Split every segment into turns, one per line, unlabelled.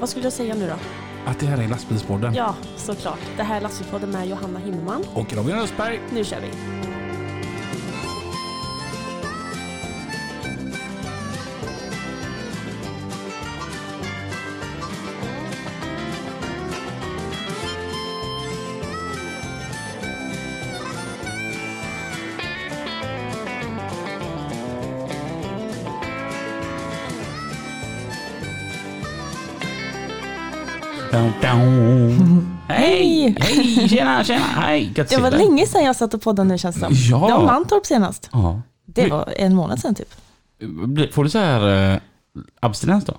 Vad skulle jag säga nu då?
Att det här är lastbilspodden.
Ja, såklart. Det här är Lastbilspodden med Johanna Himmelman.
Och Robin Östberg.
Nu kör vi!
Down, down. Hej! Hej! Tjena, tjena! Hej! Gött att
Det
se
var
dig.
länge sedan jag satt och poddade nu känns det som.
Ja.
Det var Mantorp senast.
Ja.
Det var en månad sedan typ.
Blir- Får du så här eh, abstinens då?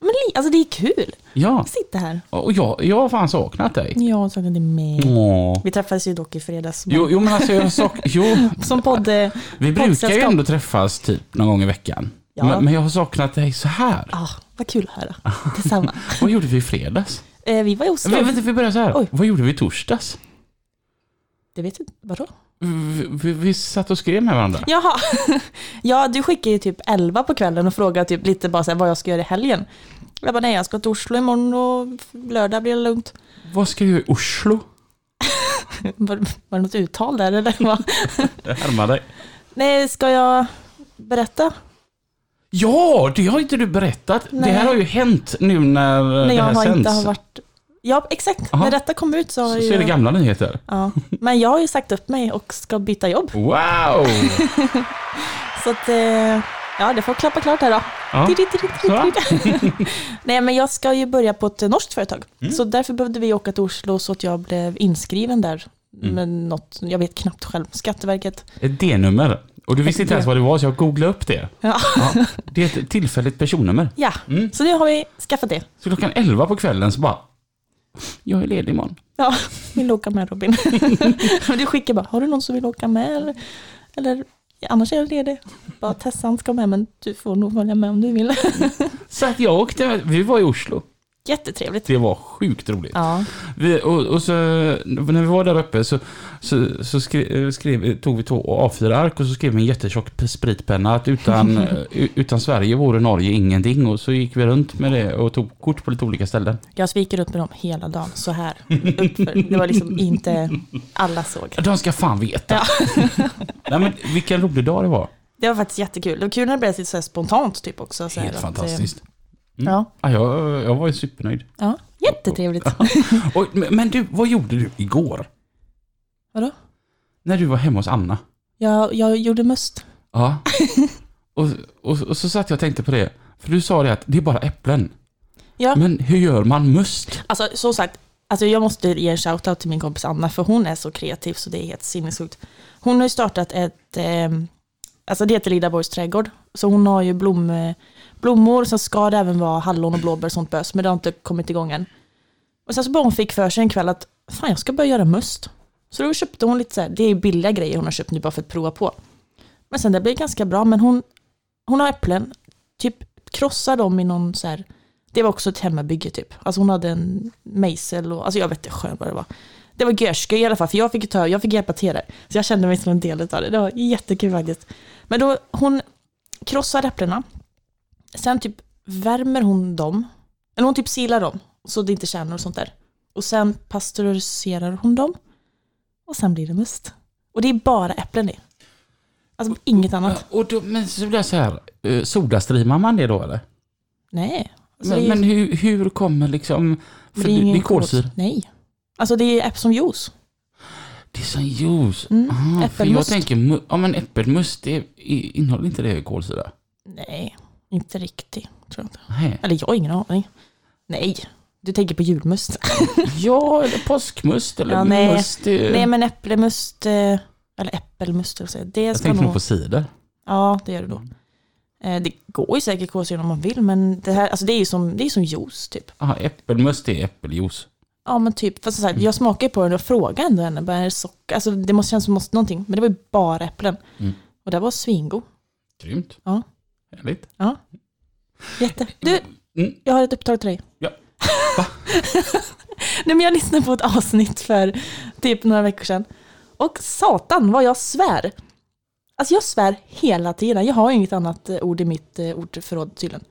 Men li- alltså det är kul.
Ja.
Sitta här.
Och jag, jag har fan saknat dig.
Jag har saknat dig med.
Åh.
Vi träffades ju dock i fredags. men-
Mm. Jo, jo, men alltså jag sak... Jo,
Som podd... eh,
vi brukar ju
Poddsällskap.
ändå träffas typ någon gång i veckan.
Ja.
Men, men jag har saknat dig så här.
Ah, vad kul att höra. Detsamma.
Vad gjorde vi i fredags?
Eh, vi var i Oslo.
Vi, vänta, vi börjar så här.
Oj.
Vad gjorde vi i torsdags?
Det vet du inte. Vadå?
Vi, vi, vi satt och skrev med varandra.
Jaha. Ja, du skickade ju typ 11 på kvällen och frågade typ lite bara så här, vad jag ska göra i helgen. Jag bara, nej jag ska till Oslo imorgon och lördag blir det lugnt.
Vad ska du göra i Oslo?
Var, var det något uttal där eller? vad?
Jag härmar dig.
nej, ska jag berätta?
Ja, det har inte du berättat.
Nej.
Det här har ju hänt nu när,
När
det
jag
här
har
sänds.
inte har varit... Ja, exakt.
Aha.
När detta kom ut så har
så,
jag
så är det
ju...
gamla nyheter.
Ja. Men jag har ju sagt upp mig och ska byta jobb.
Wow!
Så att... eh, Ja, det får klappa klart här då.
Ja. Så.
Nej, men jag ska ju börja på ett norskt företag.
Mm.
Så därför behövde vi åka till Oslo så att jag blev inskriven där.
Mm.
Med något, jag vet knappt själv, Skatteverket.
Ett D-nummer. Och du visste inte ens vad det var, så jag googlade upp det.
Ja,
Ja, det är ett tillfälligt personnummer.
ja.
Mm.
så nu har vi skaffat det.
Så klockan 11 på kvällen så bara... Jag är ledig imorgon.
Ja, vill du åka med Robin? Men du skickar bara, har du någon som vill åka med? Eller, eller "Ja, annars är jag ledig. Bara Tessan ska med, men du får nog följa med om du vill.
Så att jag åkte, vi var i Oslo.
Jättetrevligt.
Det var sjukt roligt.
Ja,
Vi, och, och så, när vi var där uppe så, så, så skri, eh, skrev, tog vi två A4-ark och så skrev vi en jättetjock p- spritpenna att utan, eh, utan Sverige vore Norge ingenting. Och så gick vi runt med det och tog kort på lite olika ställen.
jag sviker upp med dem hela dagen, så här. Uppför. Det var liksom inte alla såg.
De ska fan veta. Nej, men vilken rolig dag det var.
Det var faktiskt jättekul. Det var kul när det blev lite så här spontant typ också. Så här
Helt
att,
fantastiskt.
eh, Ja,
Ja, jag, jag var ju supernöjd.
ja, jättetrevligt.
Och, men men du, vad gjorde du igår?
Vadå?
När du var hemma hos Anna?
Jag, jag gjorde möst.
Ja. Och, och, och så satt jag och tänkte på det. För du sa det att det är bara äpplen.
Ja.
Men hur gör man must?
Alltså som sagt, alltså, jag måste ge en shoutout till min kompis Anna för hon är så kreativ så det är helt sinnessjukt. Hon har ju startat ett, eh, alltså det heter Lidaborgs trädgård, så hon har ju blom, eh, blommor, sen ska det även vara hallon och blåbär och sånt bös, men det har inte kommit igång än. Och sen så bara hon fick för sig en kväll att fan jag ska börja göra must. Så då köpte hon lite så här, det är billiga grejer hon har köpt nu bara för att prova på. Men sen det blev ganska bra, men hon, hon har äpplen, typ krossar dem i någon så här det var också ett hemmabygge typ. Alltså hon hade en mejsel och, alltså jag vet inte själv vad det var. Det var görskö i alla fall, för jag fick, ju ta, jag fick hjälpa till där. Så jag kände mig som en del av det. Det var jättekul faktiskt. Men då, hon krossar äpplena. Sen typ värmer hon dem. Eller hon typ silar dem, så det inte kärnor och sånt där. Och sen pasteuriserar hon dem. Och sen blir det must. Och det är bara äpplen det. Alltså inget annat.
Och då, men så blir jag så här, eh, sodastreamar man det då eller?
Nej. Alltså, det
Men,
är-
men hur, hur kommer liksom... För det, det är
ingen
kolsyra.
kols- Nej. Alltså det är äpp som juice.
Det är som juice.
Mm,
Ah, för jag
äppelmust.
tänker, mu- ja men äppelmust, det i- innehåller inte det kolsyra?
Nej, inte riktigt. Tror jag inte.
Nej.
Eller jag har ingen aning. Nej, du tänker på julmust.
Ja, eller påskmust eller
Ja, nej.
must. Det,
Nej, men äpplemust, eh, eller äppelmust, jag säga. det
jag
ska
tänkte nog
nog...
på cider.
Ja, det gör det då. Eh, Det går ju säkert kolsyra om man vill, men det här, alltså det är ju som, det är som juice typ.
Ah, äppelmust det är äppeljuice.
Ja, men typ, fast så
Mm.
här, jag smakar ju på den och frågar ändå henne, bara, är det socker? Alltså det måste kännas som måste någonting, men det var ju bara äpplen.
Mm.
Och det var svingod.
Grymt.
Ja.
Härligt.
Jätte. Du,
Mm.
jag har ett uppdrag till dig.
Ja.
Nej men jag lyssnade på ett avsnitt för typ några veckor sedan. Och satan vad jag svär. Alltså jag svär hela tiden. Jag har ju inget annat eh, ord i mitt eh, ordförråd tydligen.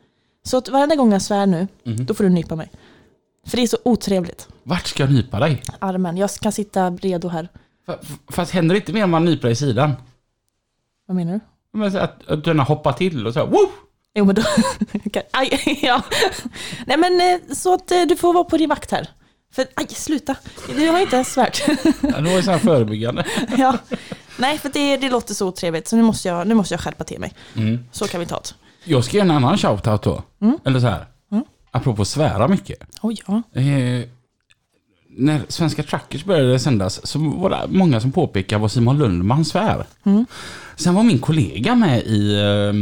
Så att varenda gång jag svär nu,
Mhm.
då får du nypa mig. För det är så otrevligt.
Vart ska jag nypa dig?
Armen, jag kan sitta redo här.
Fa- Fast händer det inte mer om man nyper dig i sidan?
Vad menar du?
Men så att, att den hoppar till och så här, woo!
Jo men då... aj, ja. Nej men eh, så att eh, du får vara på din vakt här. För, aj, sluta. Du har inte ens svärt.
Ja, Det var ju så här förebyggande.
ja. Nej, för det, det låter så otrevligt. Så nu måste, jag, nu måste jag skärpa till mig.
Mm.
Så kan vi ta det.
Jag ska ge en annan shoutout då.
Mm.
Eller så här.
Mm.
Apropå svära mycket.
Oj, ja.
Eh, när Svenska Trackers började sändas så var det många som påpekade vad Simon Lundman svär.
Mm.
Sen var min kollega med i eh,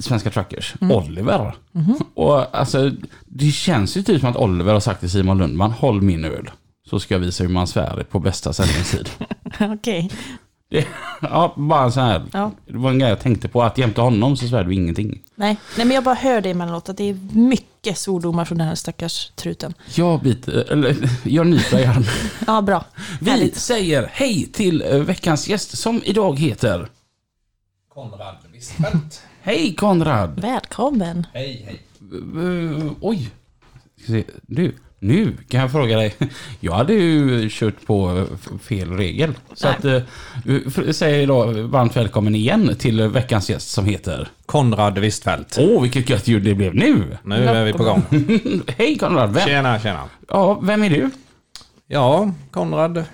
Svenska Trackers,
Mm.
Oliver.
Mm-hmm.
Och alltså, det känns ju typ som att Oliver har sagt till Simon Lundman, håll min öl. Så ska jag visa hur man svär på bästa sändningstid.
Okej.
ja, bara så här.
Ja.
Det var en grej jag tänkte på, att jämte honom så svär du ingenting.
Nej. Nej, men jag bara hör det emellanåt att det är mycket svordomar från den här stackars truten.
Jag biter, eller jag nyper i armen.
Ja, bra.
Vi
Härligt.
säger hej till eh, veckans gäst som idag heter
Konrad Wisfeldt.
Hej Konrad!
Välkommen.
hej, hej.
Eh, Oj! Ska se, Du, nu kan jag fråga dig. Jag hade ju kört på eh, f- fel regel. Så
Nej.
att, eh, f- säger då varmt välkommen igen till veckans gäst som heter
Konrad Wisfeldt.
Åh, vilket gött ljud det blev nu!
Nu är vi på gång.
Hej Konrad! Vem,
Tjena, tjena.
ja, vem är du?
Ja, Konrad eh,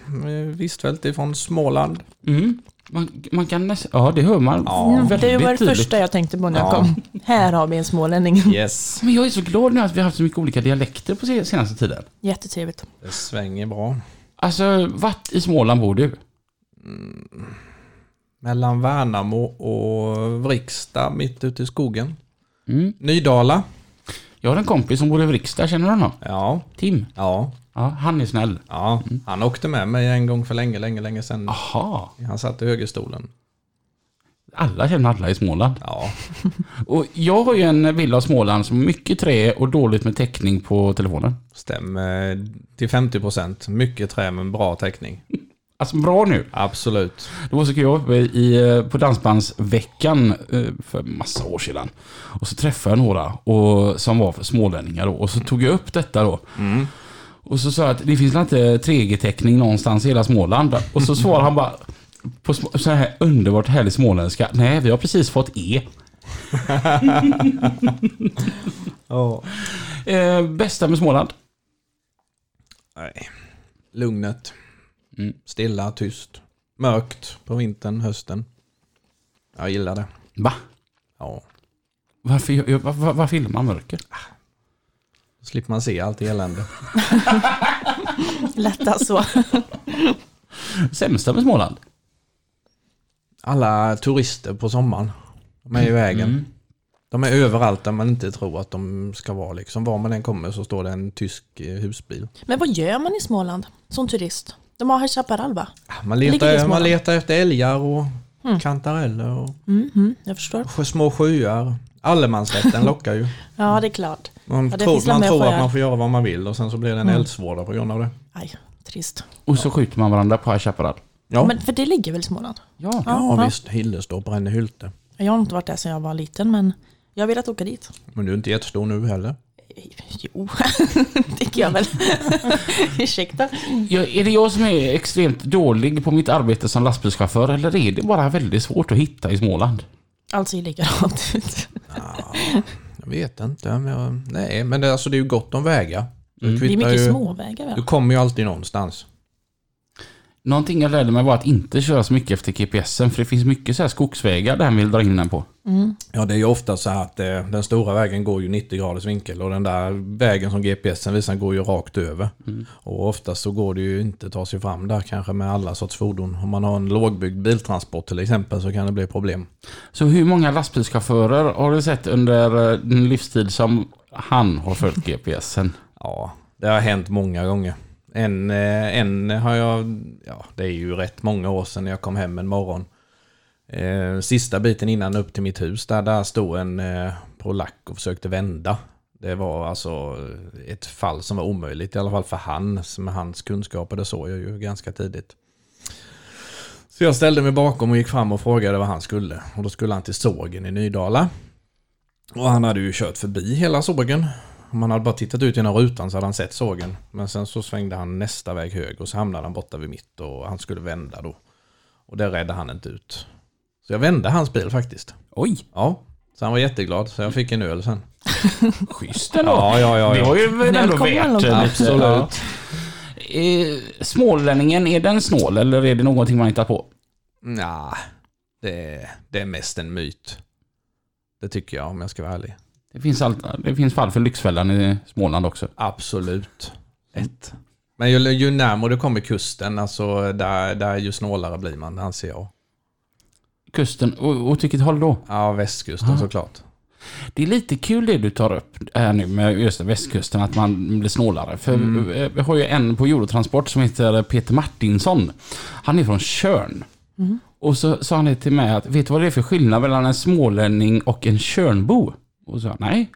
Wisfeldt ifrån Småland.
Mm. Man, man kan nästan... Ja, det hör man
Ja.
väldigt
Mm, det var det
tydligt.
första jag tänkte på när jag
Ja.
kom. Här har vi en smålänning.
Yes.
Men jag är så glad nu att vi har haft så mycket olika dialekter på se- senaste tiden.
Jättetrevligt.
Det svänger bra.
Alltså, vart i Småland bor du?
Mellan Värnamo och Vriksta, mitt ute i skogen.
Mm.
Nydala.
Jag har en kompis som bor i Vriksta, känner du honom?
Ja,
Tim.
ja,
Ja, han är snäll.
ja. Han åkte med mig en gång för länge, länge, länge sedan.
Aha.
Han satt i högerstolen.
Alla känner alla i Småland.
Ja,
Och jag har ju en bild av Småland som är mycket trä och dåligt med täckning på telefonen.
stämmer till 50 procent. Mycket trä men bra täckning.
Alltså bra nu.
Absolut.
Det var så kul, jag var uppe i, eh, på Dansbandsveckan eh, för massa år sedan. Och så träffade jag några och, som var smålänningar då. Och så tog jag upp detta då. Och så sa jag att det finns väl inte 3G-täckning någonstans i hela Småland? Och så svarade han bara på sm- så här underbart härlig småländska. Nej, vi har precis fått E.
Ja.
Eh, bästa med Småland?
Nej. Lugnet.
Mm.
Stilla, tyst. Mörkt på vintern, hösten. Jag gillar det.
Va?
Ja.
Varför, gör- jag- var- var- varför gillar man mörker?
Då slipper man se allt elände.
Lätta så.
Sämsta med Småland?
Alla turister på sommaren. De är i vägen.
Mm.
De är överallt där man inte tror att de ska vara. Liksom. Var man än kommer så står det en tysk eh, husbil.
Men vad gör man i Småland som turist? De har High Chaparral va?
Ah, Man
Ligger det i
letar, man
Småland? Mm.
letar efter älgar och kantareller och
Mhm, jag förstår.
sjö- små sjöar. Allemansrätten lockar ju.
Ja, det är klart.
Man
Ja, det finns
tror, man
lammer
tror
sjöar. Mm.
att man får göra vad man vill och sen så blir det en eldsvåda på grund av det.
Aj, trist.
Och så skjuter man varandra på High Chaparral.
Ja.
Men för det ligger väl i Småland?
Ja.
Ja,
ja.
visst, Hillestorp bränner hylte.
Jag har inte varit där sedan jag var liten, men jag har velat åka dit.
Men du är inte jättestor nu heller.
Jo, tycker jag väl. Ursäkta.
Ja, är det jag som är extremt dålig på mitt arbete som lastbilschaufför eller är det bara väldigt svårt att hitta i Småland?
Allt ser likadant ut.
Jag vet inte. Men jag, nej, men det, alltså, det är ju gott om vägar. Mm.
Det är mycket småvägar
Du
väl?
kommer ju alltid någonstans.
Någonting jag lärde mig var att inte köra så mycket efter GPSen för det finns mycket så här skogsvägar där han vill dra in den på.
Ja, det är ju ofta så här att eh, den stora vägen går ju 90 graders vinkel och den där vägen som GPSen visar går ju rakt över. Och oftast så går det ju inte att ta sig fram där kanske med alla sorts fordon. Om man har en lågbyggd biltransport till exempel så kan det bli problem.
Så hur många lastbilschaufförer har du sett under eh, din livstid som han har följt GPSen?
Ja, det har hänt många gånger. En, eh, en har jag, ja det är ju rätt många år sedan jag kom hem en morgon. Eh, Sista biten innan upp till mitt hus, där, där stod en eh, polack och försökte vända. Det var alltså ett fall som var omöjligt, i alla fall för han, med hans kunskaper, det såg jag ju ganska tidigt. Så jag ställde mig bakom och gick fram och frågade vad han skulle. Och då skulle han till sågen i Nydala. Och han hade ju kört förbi hela sågen. Om han hade bara tittat ut genom rutan så hade han sett sågen. Men sen så svängde han nästa väg höger och så hamnade han borta vid mitt och han skulle vända då. Och det räddade han inte ut. Så jag vände hans bil faktiskt.
Oj,
Ja, så han var jätteglad. Så jag fick en öl sen.
schysst ändå.
Ja, ja, ja.
Det
ja.
har ju väl ändå
Välkommen
värt
allihopa.
lite.
Absolut.
Ja. Eh, Smålänningen, är den snål eller är det någonting man hittar på?
Nja, det, det är mest en myt. Det tycker jag om jag ska vara ärlig.
Det finns, allt, det finns fall för Lyxfällan i Småland också.
Absolut. Ett. Men ju, ju närmare du kommer kusten, alltså, där, där ju snålare blir man, anser jag.
Kusten, och åt vilket håll då?
Ja, västkusten
Ja.
såklart.
Det är lite kul det du tar upp här nu med just västkusten, att man blir snålare. För eh, vi har ju en på Eurotransport som heter Peter Martinsson. Han är från Tjörn. Och så sa han det till mig att, vet du vad det är för skillnad mellan en smålänning och en Tjörnbo? Och så sa jag, nej.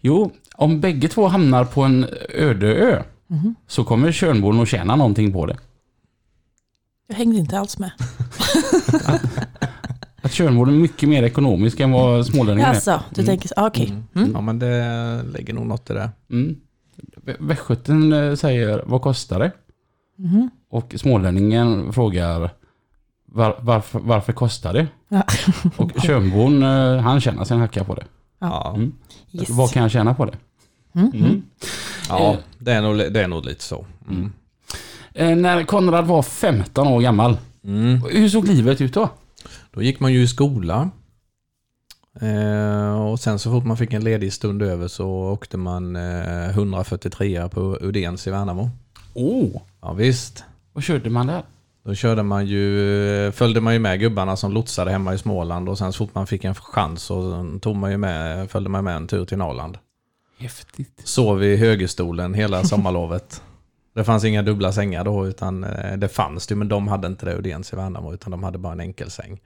Jo, om bägge två hamnar på en öde ö så kommer Tjörnbon att tjäna någonting på det.
Jag hängde inte alls med.
Att Tjörnbon är mycket mer ekonomisk än vad smålänningen är.
Alltså,
Mm.
du tänker så, ah, okej.
Ja, men det lägger nog något i det.
Mm. Västgöten eh, säger vad kostar det? Och smålänningen frågar var, varför, varför kostar det?
Ja.
Och Tjörnbon eh, han tjänar sin hacka på det.
Ja,
Mm.
Yes.
Vad kan jag tjäna på det? Mm.
ja det, är nog, det är nog lite så. Mm.
Eh, När Konrad var 15 år gammal,
Mm.
hur såg livet ut då?
Då gick man ju i skola. Eh, och sen så fort man fick en ledig stund över så åkte man eh, 143 på Udens i Värnamo.
Oh.
Ja, visst.
Vad körde man där?
Då körde man ju, eh, följde man ju med gubbarna som lotsade hemma i Småland och sen så fort man fick en chans så tog man ju med, följde man med en tur till Norrland.
Häftigt.
Sov i högerstolen hela sommarlovet. Det fanns inga dubbla sängar då, utan eh, det fanns det, men de hade inte det Udens i Värnamo, utan de hade bara en enkel säng.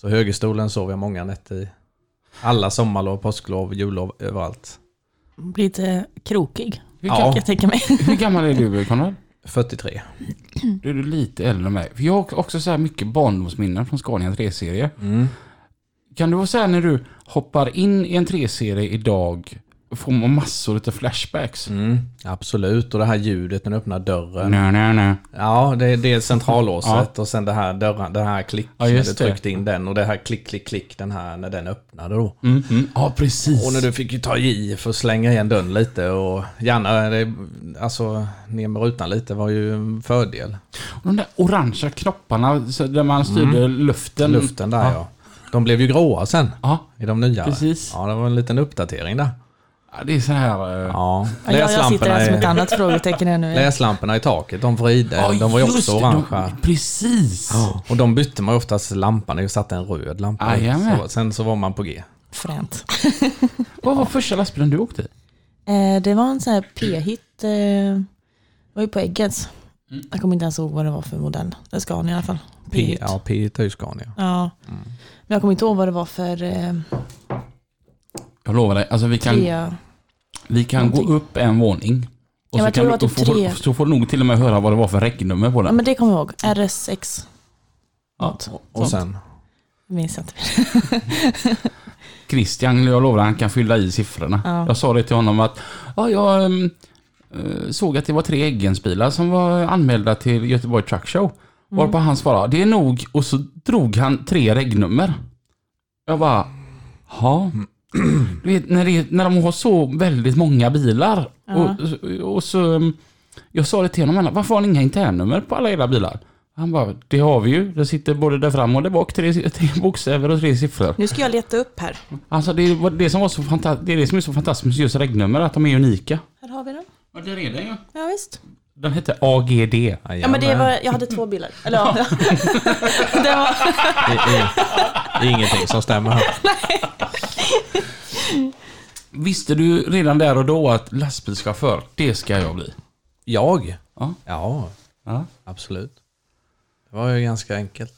Så högerstolen sov jag många nätter i. Alla sommarlov, påsklov, jullov, överallt.
Blir lite krokig,
Hur,
Ja.
gam-
jag tänker mig.
hur gammal är du Konrad?
43.
Du är du lite äldre än mig. För jag har också så här mycket barndomsminnen från Scania 3-serie.
Mm.
Kan du vara så här när du hoppar in i en 3-serie idag, får man massor av flashbacks?
Mm, absolut, och det här ljudet när du öppnar dörren.
Nej, nej, nej.
Ja, det är, det är centrallåset och sen det här dörren, det här klick
Ja,
när
just
du
det.
tryckte in den och det här klick, klick, klick den här när den öppnade då.
Mm. Mm. Ja, precis.
Och när du fick ju ta i för att slänga igen dörren lite och gärna, det, alltså ner med rutan lite var ju en fördel.
De där orangea knopparna så där man styrde luften.
Luften
Mm.
där ja. De blev ju gråa sen
Ja,
i de nya.
Precis.
Ja, det var en liten uppdatering där.
Ja, det är så här... eh,
Ja,
Ja, jag sitter här som ett annat frågetecken ännu.
läslamporna i taket, de vride,
Ja,
de var ju
just
också
det,
orangea.
de- Precis.
Och de bytte man ju oftast lampan i och satte en röd lampa. i.
Jajamän.
Så, sen så var man på G.
Fränt.
Vad var första lastbilen du åkte i?
Eh, det var en sån här p-hit. Eh, det var ju på Eggeds. Jag kommer inte ens ihåg vad det var för modell. Det ska ni i alla fall. P-hit.
P,
Ja.
ja, Mm. P är ju Scania.
Men jag kommer inte ihåg vad det var för eh,
Jag lovar dig, alltså vi kan,
trea.
vi kan gå upp en våning.
Ja, men
så,
jag tror
kan
det var
du,
typ
och får,
tre.
så får du nog till och med höra vad det var för regnummer på
Ja,
den.
men det kommer jag ihåg. RS6.
Ja.
Och sen,
Minns jag inte.
Christian, jag lovar, han kan fylla i siffrorna.
Ja.
Jag sa det till honom att ja, jag ehm, eh, såg att det var tre Eggensbilar som var anmälda till Göteborg Truck Show. Varpå han svarade, det är nog, och så drog han tre regnummer. Jag bara, ja.
Mm.
Du vet, när, det, när de har så väldigt många bilar. Och, och så, ehm, jag sa det till honom, varför har ni inga internnummer på alla era bilar? Han bara, det har vi ju. Det sitter både där fram och där bak, tre, tre bokstäver och tre siffror.
Nu ska jag leta upp här.
Alltså det, var det, som var så fanta- det är det som är så fantastiskt med just regnummer, att de är unika.
Här har vi den.
Ja, där är den ju.
Ja, visst.
Den hette AGD.
Ja, men det var, jag hade två bilar. Eller ja. det var,
det är, det är ingenting som stämmer här.
Visste du redan där och då att lastbilschaufför, det ska jag bli?
Jag?
Ja.
Ja,
Ja.
absolut. Det var ju ganska enkelt.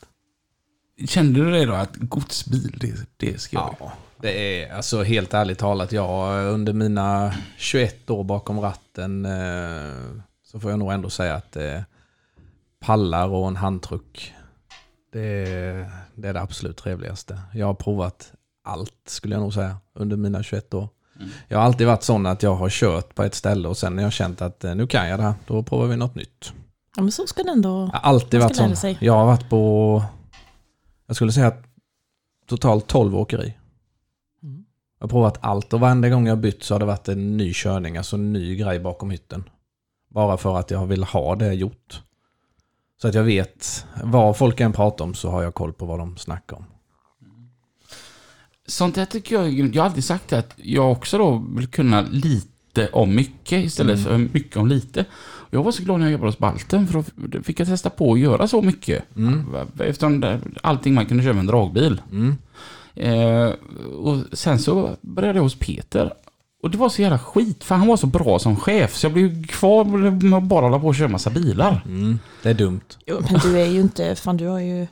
Kände du det då att godsbil, det, det ska jag bli?
Ja, det är alltså helt ärligt talat, jag under mina 21 år bakom ratten eh, så får jag nog ändå säga att eh, pallar och en handtruck, det är det, är det absolut trevligaste. Jag har provat allt skulle jag nog säga under mina 21 år. Jag har alltid varit sån att jag har kört på ett ställe och sen när jag har känt att eh, nu kan jag det här, då provar vi något nytt.
Ja, men så ska det ändå...
Jag har alltid
Man
varit
ska lära
sån.
sig.
Jag har varit på, jag skulle säga att totalt 12 åkeri.
Mm.
Jag har provat allt och varenda gång jag har bytt så har det varit en ny körning, alltså en ny grej bakom hytten. Bara för att jag vill ha det gjort. Så att jag vet, vad folk än pratar om så har jag koll på vad de snackar om.
Sånt där tycker jag är grymt. Jag har alltid sagt att jag också då vill kunna lite om mycket istället för mycket om lite. Och Jag var så glad när jag jobbade hos Balten för då fick jag testa på att göra så mycket. Eftersom det- allting man kunde köra med en dragbil. Eh, och sen så började jag hos Peter. Och det var så jävla skit för han var så bra som chef så jag blev kvar med att bara hålla på och köra massa bilar.
Mm. Det är dumt.
Jo, men du är ju inte... Fan, du har ju...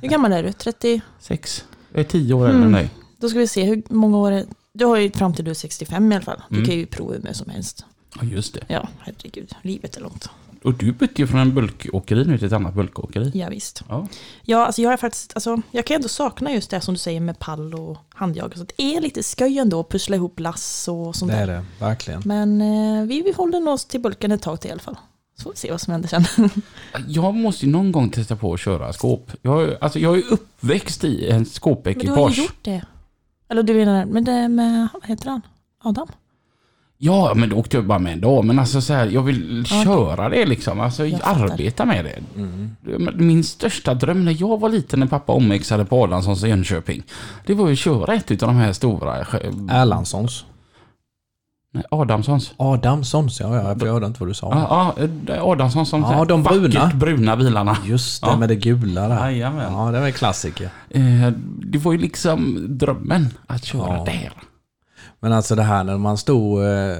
Hur gammal är du? 30?
Sex. Jag är tio år äldre än dig.
Då ska vi se hur många år... är- Du har ju fram till du är 65 i alla fall. Du
Mm.
kan ju prova hur mycket som helst.
Ja just det.
Ja, herregud. Livet är långt.
Och du bytte ju från en bulkåkeri nu till ett annat bulkåkeri.
Ja, visst.
Ja.
Ja, alltså jag, är faktiskt, alltså jag kan ändå sakna just det som du säger med pall och handjag. Så att det är lite skoj ändå att pussla ihop lass och sånt
Det är
där.
det, verkligen.
Men eh, vi, vi håller oss till bulken ett tag till i alla fall. Så får vi se vad som händer sen.
Jag måste ju någon gång testa på att köra skåp. Jag, har ju- alltså, jag är ju uppväxt i en
Men du har
skåpekipage.
ju gjort det. Eller du menar, men det med, vad heter han? Adam?
Ja, men då åkte jag bara med en dag. Men alltså så här, jag vill
Ja,
köra det liksom. Alltså
Jag fattar.
arbeta med det. Min största dröm när jag var liten, när pappa omväxlade på Adamssons i Jönköping. Det var ju att köra ett utav de här stora. Äh,
Erlandssons.
nej, Adamssons.
Adamssons, ja, ja jag hörde inte vad du sa.
Ja, ja, det är Adamssons som
Ja,
så här
de
vackert
bruna.
bruna bilarna.
Just det,
Ja.
med det gula där.
Jajamän.
Ja, det var en klassiker.
Eh, Det var ju liksom drömmen att köra
Ja.
där.
Men alltså det här när man stod eh,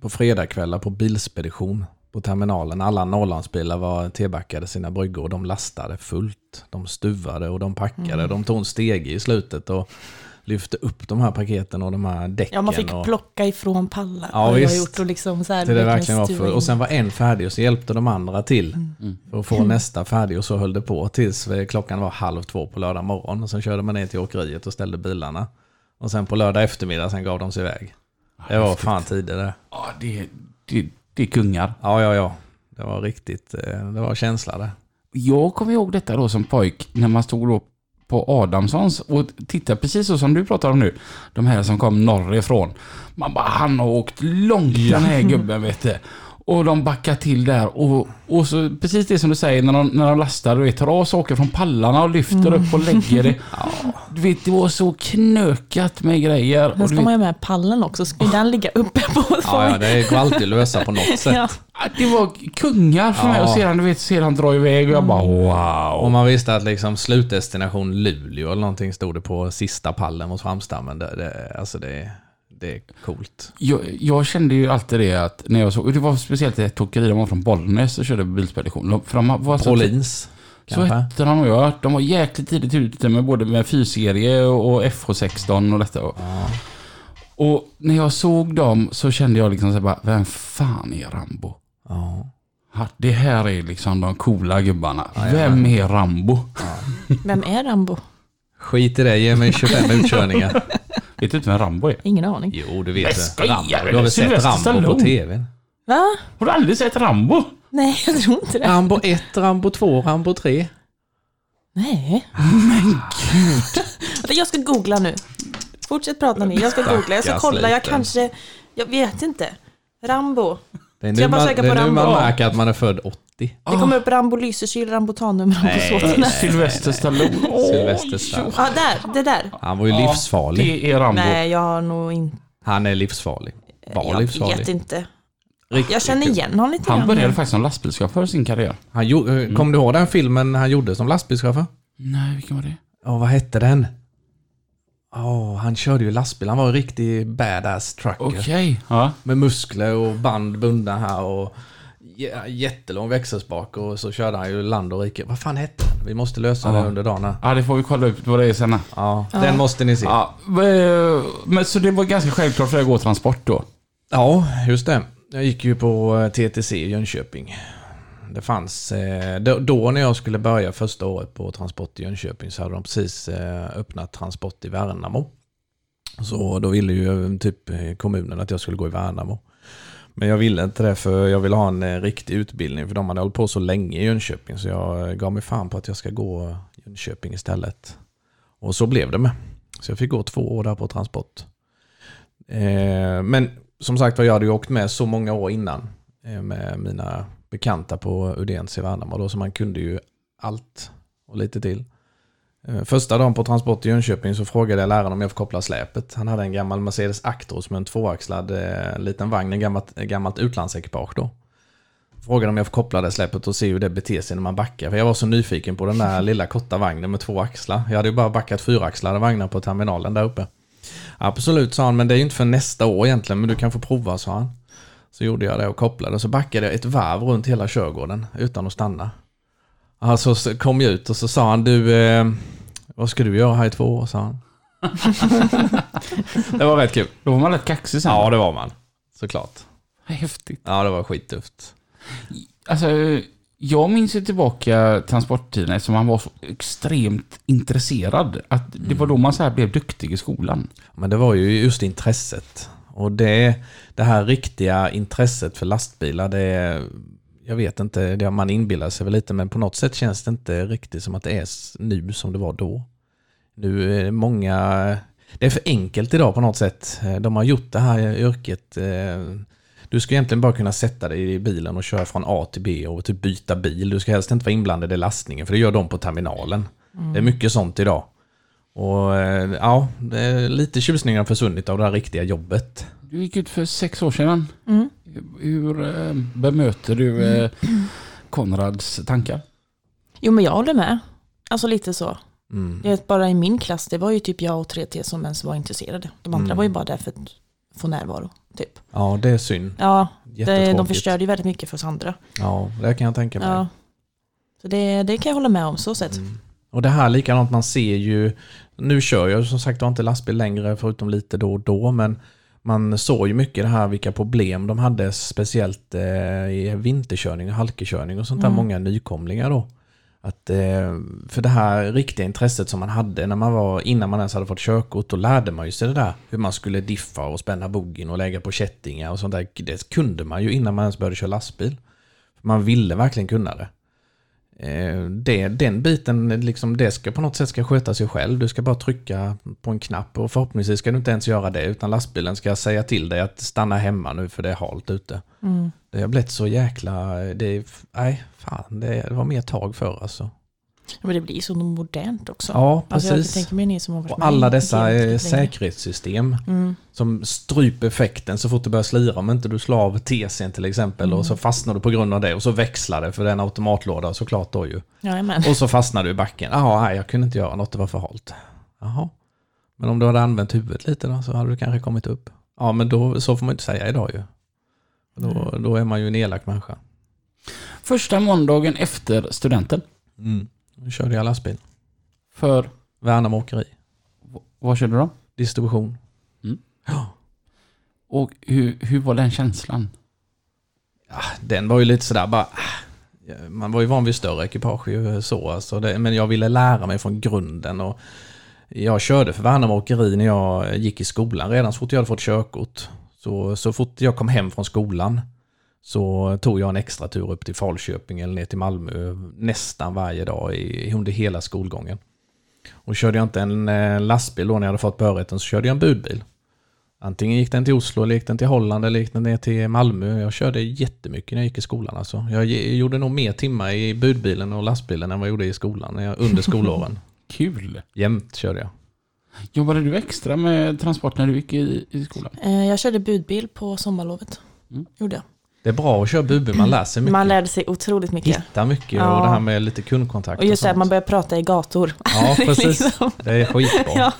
på fredagkvällar på bilspedition på terminalen. Alla Norrlandsbilar var tebackade sina bryggor och de lastade fullt. De stuvade och de packade.
Mm.
De tog en stege i slutet och lyfte upp de här paketen och de här däcken.
Ja, man fick
och...
plocka ifrån pallar.
Ja,
vad jag har
visst.
gjort och liksom så här.
Till det verkligen var
stuva
för.
in.
Och sen var en färdig och så hjälpte de andra till.
Mm.
För att få nästa färdig och så höll det på tills eh, klockan var halv två på lördag morgon. Och sen körde man ner till åkeriet och ställde bilarna. Och sen på lördag eftermiddag sen gav de sig iväg. Det var fan tider det.
Ja, det, det, det är kungar.
Ja, ja, ja. Det var riktigt, eh, det var känsla det.
Jag kommer ihåg detta då som pojk, när man stod då på Adamssons och tittade precis så som du pratar om nu. De här som kom norrifrån. Man bara, han har åkt långt den här gubben vet du. Och de backar till där och, och så precis det som du säger när de, när de lastar och tar av saker från pallarna och
Mm.
lyfter upp och lägger det. Du vet, det var så knökat med grejer.
Sen
Och du
ska
vet,
man ju med pallen också. Ska ju den ligga uppe på
Ja, ja, det går alltid att lösa på något sätt.
Ja.
Ah, Det var kungar för mig
Ja.
och sedan, du vet, sedan dra iväg och jag bara
Mm.
wow.
Om man visste att liksom slutdestination Luleå eller någonting stod det på sista pallen mot framstammen. Det, det, alltså det, det är coolt.
Jag, jag kände ju alltid det att när jag såg, och det var speciellt ett åkeri, de var från Bollnäs och körde bilspedition. De- För de var så,
Prolins.
så hette de och jag. De var jäkligt tidigt ute med både med 4-serie och FH16 och detta. Och när jag såg dem så kände jag liksom så här bara, vem fan är Rambo?
Ja.
Ha, Det här är liksom de coola gubbarna. Vem är Rambo?
Vem är Rambo?
Skit i det, ge mig 25 utkörningar.
Vet du inte vem Rambo är?
Ingen aning.
Jo, du vet det.
skojar
Rambo.
du?
Du har väl
Sylvester
sett Rambo på
Stallone.
tv?
Va?
Har du aldrig sett Rambo?
Nej, jag tror inte det.
Rambo 1, Rambo 2, Rambo 3.
Nej. Men gud. jag ska googla nu. Fortsätt prata ni. Jag ska googla. Jag ska
Stackars
kolla. Jag
liten.
kanske... Jag vet inte. Rambo.
Det är
Ska
nu,
jag bara
man,
söka
det är
på
nu
Rambo?
man märker att man är född 80.
Det kommer upp Rambo Lysekil, Rambo Tanum, Rambo Såten.
Sylvester Stallone. Åh,
Sylvester Stallone.
Ja, där. Det där.
Han var ju livsfarlig.
Det är Rambo.
Nej, jag har nog inte...
Han är livsfarlig. Var
Jag vet
livsfarlig.
inte.
Riktigt
Eh, Jag känner igen honom lite
Han började
grann.
faktiskt som lastbilschaufför sin karriär.
Han gjorde, eh, Kom du ihåg den filmen han gjorde som lastbilschaufför?
Nej, vilken var det?
Ja, vad hette den? Åh, han körde ju lastbil. Han var en riktig badass trucker.
Okej. Ja.
Med muskler och band bundna här och jä- jättelång växelspak och så körde han ju land och rike. Vad fan hette den? Vi måste lösa det under dagen här.
ja, det får vi kolla upp vad det är sen. här.
Ja, den måste ni se. Ja,
Ja, eh, men så det var ganska självklart för dig att gå transport då?
just det. Jag gick ju på eh, TTC i Jönköping. Det fanns, eh, då, då när jag skulle börja första året på Transport i Jönköping så hade de precis eh, öppnat Transport i Värnamo. Så då ville ju typ kommunen att jag skulle gå i Värnamo. Men jag ville inte det för jag ville ha en eh, riktig utbildning för de hade hållit på så länge i Jönköping så jag eh, gav mig fan på att jag ska gå Jönköping istället. Och så blev det med. Så jag fick gå två år där på transport. Eh, Men som sagt var, jag hade ju åkt med så många år innan eh, med mina bekanta på Udens i Värnamo då så man kunde ju allt och lite till. Eh, Första dagen på transport i Jönköping så frågade jag läraren om jag får koppla släpet. Han hade en gammal Mercedes Actros med en tvåaxlad eh, liten vagn, en gammalt, en gammalt utlandsekipage då. Frågade om jag får koppla det släpet och se hur det beter sig när man backar. För jag var så nyfiken på den där lilla korta vagnen med två axlar. Jag hade ju bara backat fyraxlade vagnar på terminalen där uppe. Absolut, sa han, men det är ju inte för nästa år egentligen, men du kan få prova, sa han. Så gjorde jag det och kopplade och så backade jag ett varv runt hela körgården utan att stanna. Alltså så kom jag ut och så sa han du, eh, vad ska du göra här i två år? sa han. det var rätt kul.
Då var man rätt kaxig sen.
Ja, det var man. Såklart.
Häftigt.
Ja, det var skittufft.
Alltså, jag minns ju tillbaka transporttiden eftersom han var så extremt intresserad. Att det var då man så här blev duktig i skolan.
Men det var ju just intresset. Och det, det här riktiga intresset för lastbilar, det jag vet inte, det man inbillar sig väl lite, men på något sätt känns det inte riktigt som att det är s- nu som det var då. Nu är det många... Det är för enkelt idag på något sätt. Eh, De har gjort det här yrket. eh, Du ska egentligen bara kunna sätta dig i bilen och köra från A till B och typ byta bil. Du ska helst inte vara inblandad i lastningen, för det gör de på terminalen. Det är mycket sånt idag. Och eh, ja, det är lite tjusningar har försvunnit av det här riktiga jobbet.
Du gick ut för sex år sedan.
Mm.
Hur eh, bemöter du eh, Konrads tankar?
Jo, men jag håller med. Alltså lite så.
Mm.
Jag vet bara i min klass, det var ju typ jag och 3T som ens var intresserade. De andra
Mm.
var ju bara där för att få närvaro. Typ.
Ja, det är synd.
Ja, det,
Jättetråkigt.
de förstörde ju väldigt mycket för oss andra.
Ja, det kan jag tänka mig.
Ja. Så det, det kan jag hålla med om, så sett.
Mm. Och det här likadant, man ser ju, nu kör jag som sagt var inte lastbil längre förutom lite då och då, men man såg ju mycket det här vilka problem de hade speciellt eh, i vinterkörning och halkkörning och sånt där,
Mm.
många nykomlingar då. Att, eh, för det här riktiga intresset som man hade när man var, innan man ens hade fått körkort, då lärde man ju sig det där hur man skulle diffa och spänna boggin och lägga på kättingar och sånt där. Det kunde man ju innan man ens började köra lastbil. Man ville verkligen kunna det. Eh, det, den biten, liksom, det ska på något sätt ska sköta sig själv. Du ska bara trycka på en knapp och förhoppningsvis ska du inte ens göra det utan lastbilen ska säga till dig att stanna hemma nu för det är halt ute.
Mm.
Det har blivit så jäkla... Det, är- nej, fan, det var mer tag för alltså.
Ja, Men det blir så modernt också.
Ja,
Alltså jag
precis.
tänker mig ni som har varit
och
med
alla
i
dessa
gamet
eh,
lite längre.
säkerhetssystem
Mm.
som stryper effekten så fort det börjar slira. Om inte du slår av TCn till exempel
Mm.
och så fastnar du på grund av det och så växlar det för det är en automatlåda såklart då ju.
Jajamän.
Och så fastnade du i backen. Jaha, nej, jag kunde inte göra något, det var för halt. Jaha. Men om du hade använt huvudet lite då så hade du kanske kommit upp. Ja, men då, så får man ju inte säga idag ju. Då, då är man ju en elak människa.
Första måndagen efter studenten.
Nu körde jag lastbil.
För,
Värnamo Åkeri.
vad körde du då?
Distribution.
Och hur, hur var den känslan?
Den var ju lite sådär bara... ah. Man var ju van vid större ekipage ju så. Alltså det, men jag ville lära mig från grunden. Och jag körde för Värnamo Åkeri när jag gick i skolan redan så fort jag hade fått körkort. Så, så fort jag kom hem från skolan så tog jag en extra tur upp till Falköping eller ner till Malmö nästan varje dag i, under hela skolgången. Och körde jag inte en eh, lastbil då när jag hade fått behörigheten så körde jag en budbil. Antingen gick den till Oslo, eller gick den till Holland eller gick den ner till Malmö. Jag körde jättemycket när jag gick i skolan. Alltså. Jag ge- gjorde nog mer timmar i budbilen och lastbilen än vad jag gjorde i skolan när jag, under skolåren.
Kul!
Jämt körde jag.
Jobbade du extra med transport när du gick i, i skolan?
Eh, Jag körde budbil på sommarlovet.
Mm.
Gjorde jag.
Det är bra att köra budbil, man lär sig mycket.
Man lärde sig otroligt mycket.
Hitta mycket
Ja.
och det här med lite kundkontakt.
Och just det,
sånt.
att man börjar prata i gator.
Ja, precis.
liksom.
Det är skitbra.
Ja.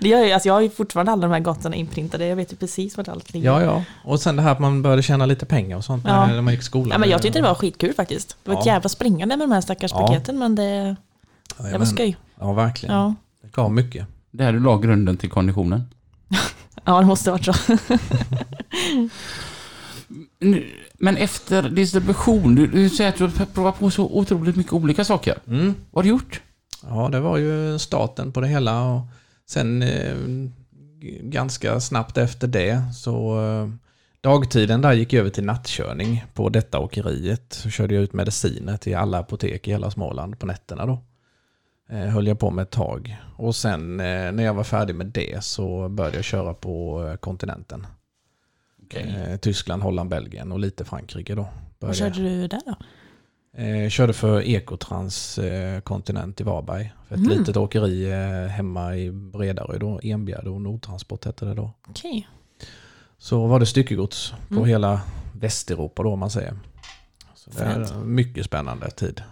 Det gör ju, alltså jag har ju fortfarande alla de här gatorna inprintade. Jag vet ju precis vart allt ligger.
Ja, ja. Och sen det här att man började tjäna lite pengar och sånt
Ja.
när när man gick i skolan.
Ja, men jag tyckte det var skitkul faktiskt. Det var ett
Ja.
jävla springande med de här stackars
Ja.
paketen, men det, det var
Jajamän.
skoj.
Ja, verkligen.
Ja.
Det gav mycket.
Där du la grunden till konditionen.
ja, det måste ha varit så.
Nu- Men efter distribution, du, du säger att du har provat på så otroligt mycket olika saker.
Mm.
Vad har du gjort?
Ja, det var ju starten på det hela. Och sen eh, g- ganska snabbt efter det så eh, dagtiden där gick jag över till nattkörning på detta åkeriet. Så körde jag ut mediciner till alla apotek i hela Småland på nätterna då. Eh, Höll jag på med ett tag. Och sen eh, när jag var färdig med det så började jag köra på eh, kontinenten. Eh, Tyskland, Holland, Belgien och lite Frankrike då.
Vad
Började jag.
körde du där då?
Eh, körde för Ekotrans eh, Continent i Varberg. För ett
Mm.
litet åkeri eh, hemma i Bredarö då, Enbjerg och Nordtransport hette det då.
Okej.
Så var det styckegods på
Mm.
hela Västeuropa då om man säger. Så det är
Fränt.
en mycket spännande tid.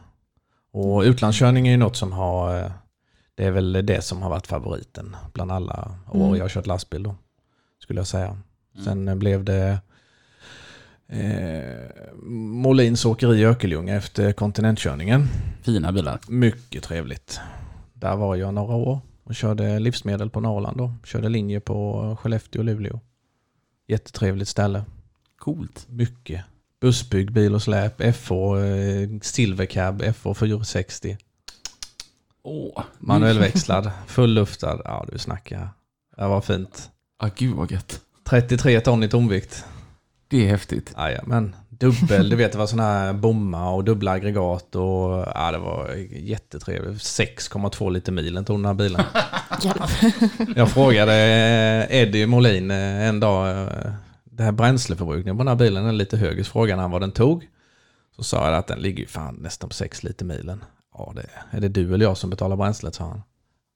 Och utlandskörning är ju något som har, eh, det är väl det som har varit favoriten bland alla år
Mm.
jag har kört lastbil då, skulle jag säga.
Mm.
Sen eh, blev det eh, Molins åkeri i Ökelljunga efter kontinentkörningen.
Fina bilar.
Mycket trevligt. Där var jag några år och körde livsmedel på Norrland då. Körde linje på Skellefteå och Luleå. Jättetrevligt ställe.
Coolt.
Mycket. Bussbygg, bil och släp, FH, eh, Silvercab, FH 460.
Åh.
Manuellväxlad, fulluftad. Ja, du snackar. Ja, vad fint.
Ah, gud vad gött.
33 ton i tomvikt.
Det är häftigt.
men Dubbel, du vet det var sådana här bommar och dubbla aggregat och ja, det var jättetrevligt. 6,2 liter milen tog den här bilen.
Ja.
Jag frågade eh, Eddie Molin eh, en dag, eh, det här bränsleförbrukningen på den här bilen är lite hög, så frågade han vad den tog. Så sa jag att den ligger ju fan nästan på 6 liter milen. Ja, det, är det du eller jag som betalar bränslet, sa han.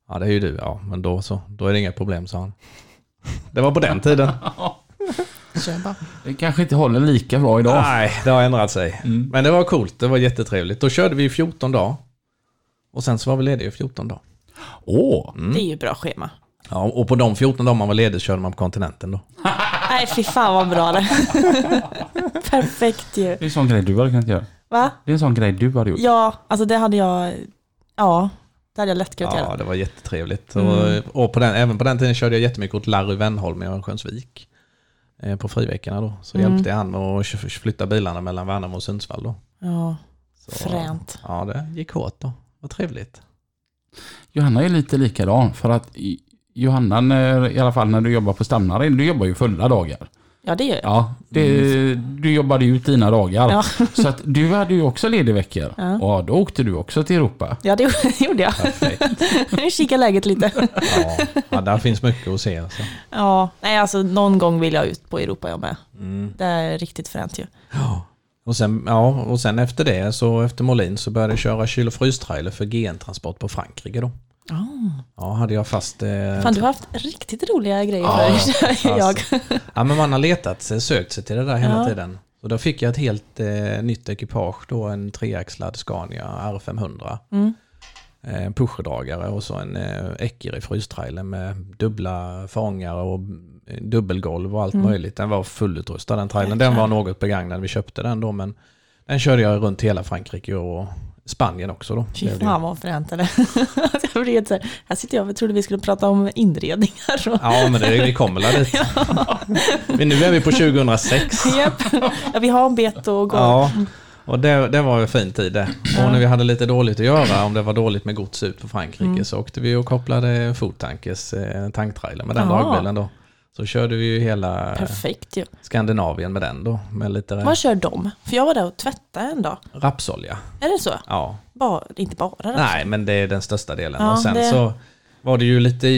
Ja, det är ju du. Ja, men då så, då är det inga problem, sa han. Det var på den tiden.
Kör bara.
Det kanske inte håller lika bra idag.
Nej, det har ändrat sig.
Mm.
Men det var coolt, det var jättetrevligt. Då körde vi i 14 dagar. Och sen så var vi lediga i 14 dagar.
Åh.
Mm.
Det är ju bra schema.
Ja, och på de 14 dagar man var ledig körde man på kontinenten då.
Nej, fy fan vad bra det Perfekt ju.
Det är en sån grej du hade kunnat göra.
Va?
Det är en sån grej du hade gjort.
Ja, alltså det hade jag... Ja, det hade jag lätt kunnat
Ja,
göra.
det var jättetrevligt.
Mm.
Och, och på den, även på den tiden körde jag jättemycket åt Larry Wennholm i Örnsköldsvik. eh, På friveckorna då. Så
Mm.
hjälpte jag han att kö- flytta bilarna mellan Värnamo och Sundsvall då.
Ja,
Så,
fränt.
Ja, det gick hårt då. Vad trevligt.
Johanna är lite likadan för att i- Johanna, när, i alla fall när du jobbar på Stamnarin, du jobbar ju fulla dagar.
Ja, det gör jag.
Ja, det, du jobbade ju ut dina dagar.
Mm. Ja.
Så att du hade ju också ledig veckor.
Ja.
Ja, då åkte du också till Europa.
Ja, det gjorde- det gjorde jag.
Perfekt.
Nu kikar läget lite.
Ja, ja, där finns mycket att se. Alltså.
Ja, nej alltså någon gång vill jag ut på Europa jag med.
Mm.
Det är riktigt fränt ju.
Ja. Och, sen, ja, och sen efter det, så efter Molin, så började jag köra kyl och frystrailer för GN-transport på Frankrike då. Ja, hade jag fast... Eh,
Ah. Fan, du har haft riktigt roliga grejer
Ja,
för dig.
ja.
jag.
Alltså. Ja, men man har letat sig, sökt sig till det där hela
Ja.
tiden. Och då fick jag ett helt eh, nytt ekipage då, en treaxlad Scania R500.
Mm.
Eh, en pusherdragare och så en eh, Eckerö frystrailer med dubbla fångare och eh, dubbelgolv och allt
Mm.
möjligt. Den var fullutrustad den trailern. Den var något begagnad, vi köpte den då men den körde jag runt hela Frankrike och Spanien också då.
Fy
blev det ju.
fan vad fränt eller? Alltså, jag blev helt så här, här sitter jag och trodde vi skulle prata om inredningar. Och,
Ja men det, vi kommer väl dit. Men nu är vi på 2006.
Japp. ja, vi har en bet och gå.
Ja, och det, det var en fin tid det. Och när vi hade lite dåligt att göra, om det var dåligt med gods ut på Frankrike,
Mm.
så åkte vi och kopplade foodtankers, eh, tanktrailer med den
Ja.
dragbilen då. Så körde vi ju hela
Perfekt ju.
Eh. Skandinavien med den då, med lite
Vad kör de? För jag var där och tvättade en dag.
rapsolja.
Är det så?
Ja.
Bara, inte bara det.
Nej, men det är den största delen.
Ja,
och sen
det-
så var det ju lite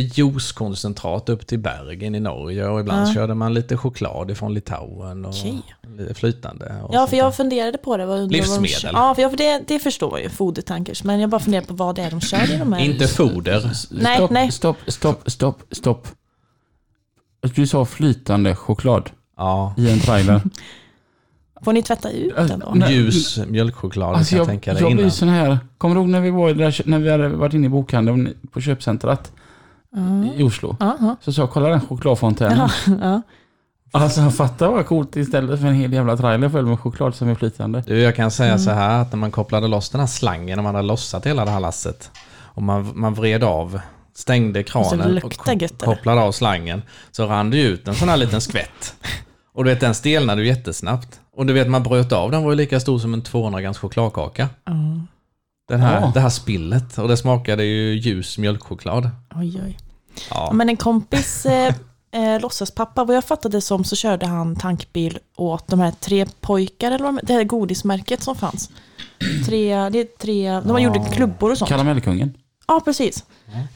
juicekoncentrat upp till Bergen i Norge och ibland
Ja.
körde man lite choklad från Litauen och
Okej.
lite flytande. Och
Ja,
sånt
för
där.
jag funderade på det. Vad undrar vad de
Livsmedel.
kör. Ja, för jag, för det, det förstår man ju, fodertankers. Men jag bara funderar på vad det är de kör i de här.
Inte foder.
Nej,
stopp,
nej.
stopp, stopp, stopp, stopp. Du sa flytande choklad
Ja.
i en trailer.
Får ni tvätta ut den
Mm.
då?
Nej.
Ljus mjölkchoklad
Alltså
kan jag
jag,
tänka
jag,
dig innan.
blir sån här, kommer du ihåg när vi var i det där, kö- när vi hade varit inne i bokhandeln på köpcentret i Oslo?
Mm. Ja, ja.
Så sa jag, kolla den chokladfontänen.
Ja, ja.
Alltså fatta vad coolt istället för en hel jävla trailer full med choklad som är flytande.
Du, jag kan säga så här att när man kopplade loss den här slangen och man hade lossat hela det här lasset och man, man vred av, stängde
så
kranen och
luktar gött, eller?
kopplade av slangen så rann det ut en sån här liten skvätt. Och du vet, den stelnade ju jättesnabbt. Och du vet, man bröt av den var ju lika stor som en 200 grams chokladkaka. Den här,
Ja.
Det här spillet. Och det smakade ju ljus mjölkchoklad.
Oj, oj.
Ja.
Men en kompis eh, eh, låtsaspappa, vad jag fattade som så körde han tankbil åt de här tre pojkar, eller vad de, det här godismärket som fanns. Tre, det är tre, de har gjorde klubbor och sånt.
Karamellkungen.
Ja, precis.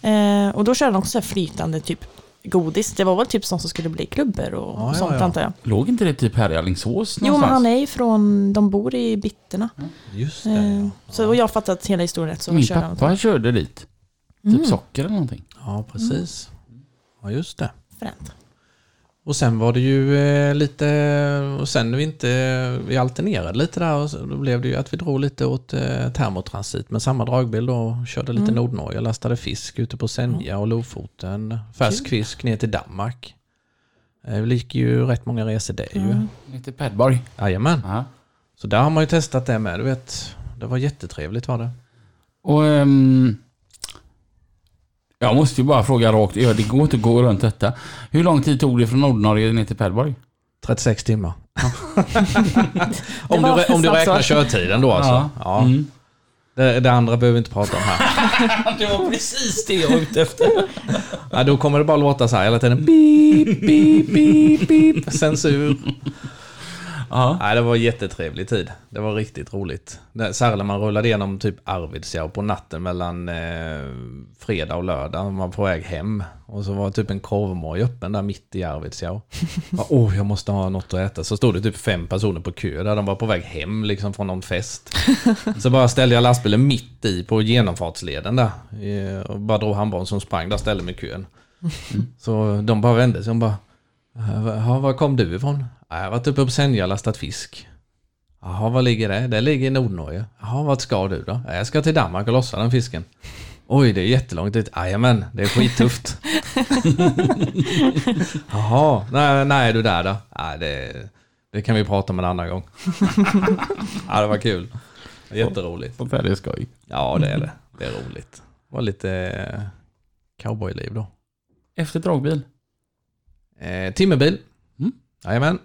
Eh, och då körde de också så här flytande typ godis. Det var väl typ sånt som skulle bli klubbor och,
Ja,
och
ja,
sånt
ja.
antar jag.
Låg inte det typ här i Alingsås
Jo, men
någonstans?
han är ju från, de bor i Bitterna.
Just det.
Eh,
Mm. Ja,
så, och jag har fattat hela historien rätt så
Min
körde Mm. han.
pappa körde dit. Typ socker eller någonting.
ja precis. Ja, just det.
Fränt.
Och sen var det ju eh, lite, och sen när vi inte, vi alternerade lite där och så- då blev det ju att vi drog lite åt eh, termotransit med samma dragbil då och körde lite Nordnorge. Jag lastade fisk ute på Senja och Lofoten, färsk fisk ner till Danmark. Eh, Det gick ju rätt många resor där ju.
Lite Pedborg.
Jajamän.
Ja.
Så där har man ju testat det med, du vet. Det var jättetrevligt var det.
Och... ehm, jag måste ju bara fråga rakt, ja, det går inte att gå runt detta. Hur lång tid tog det från Nordnorge ner till Pedborg?
36 timmar. om, du,
var
rä- om du
snabbt
räknar
svar.
körtiden då alltså. Ja. Det, det andra behöver vi inte prata om här.
Mm. Det var precis det jag var ute efter.
Ja, då kommer det bara låta så här hela tiden. Beep, beep, beep, beep. Censur.
Ja.
Nej, det var en jättetrevlig tid. Det var riktigt roligt. Det- Särskilt när man rullade igenom typ Arvidsjaur på natten mellan eh, fredag och lördag. Man var på väg hem. Och så var typ en korvmoj öppen där mitt i Arvidsjaur. Bara, Åh, jag måste ha något att äta. Så stod det typ fem personer på kö där. De var på väg hem liksom från någon fest. Så bara ställde jag lastbilen mitt i på genomfartsleden där. eh, Och bara drog handbollen som sprang där ställde mig i kön. Så de bara vände sig och bara Jaha, var kom du ifrån? "Ja, Jag har varit uppe på Senja och lastat fisk. Jaha, var ligger det? Det ligger i Nordnorge. Jaha, vart ska du då? "Ja, Jag ska till Danmark och lossa den fisken. Oj, det är jättelångt dit. Jajamän, det är skittufft. Jaha, när, när är du där då? "Ja, det, det kan vi prata om en annan gång. ja, det var kul. Jätteroligt.
På Pedborg skoj.
Ja, det är det. Det är roligt. Det var lite eh, cowboyliv då.
Efter dragbil.
Eh, timmerbil.
Mm.
Jajamän.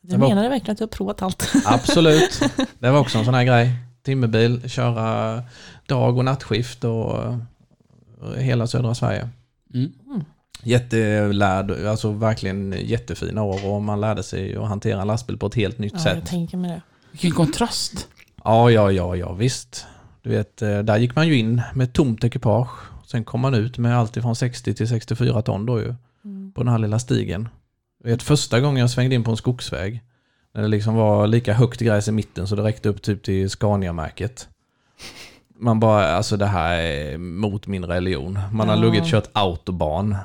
Du
Det var-
menar du verkligen att du har provat allt?
Absolut. Det var också en sån här grej. Timmerbil, köra dag och nattskift och och hela södra Sverige.
Mm.
Jättelärd, alltså verkligen jättefina år och man lärde sig att hantera en lastbil på ett helt nytt
Ja, jag
sätt.
tänker mig det.
Vilken kontrast.
Ja, ja, ja, ja, visst. Du vet, eh, där gick man ju in med ett tomt ekipage. Sen kom man ut med allt ifrån 60 till 64 ton då ju. På den här lilla stigen. Du vet, första gången jag svängde in på en skogsväg. När det liksom var lika högt gräs i mitten så det räckte upp typ till Scania-märket. Man bara, alltså det här är mot min religion. Man har
Ja.
luggit kört autobahn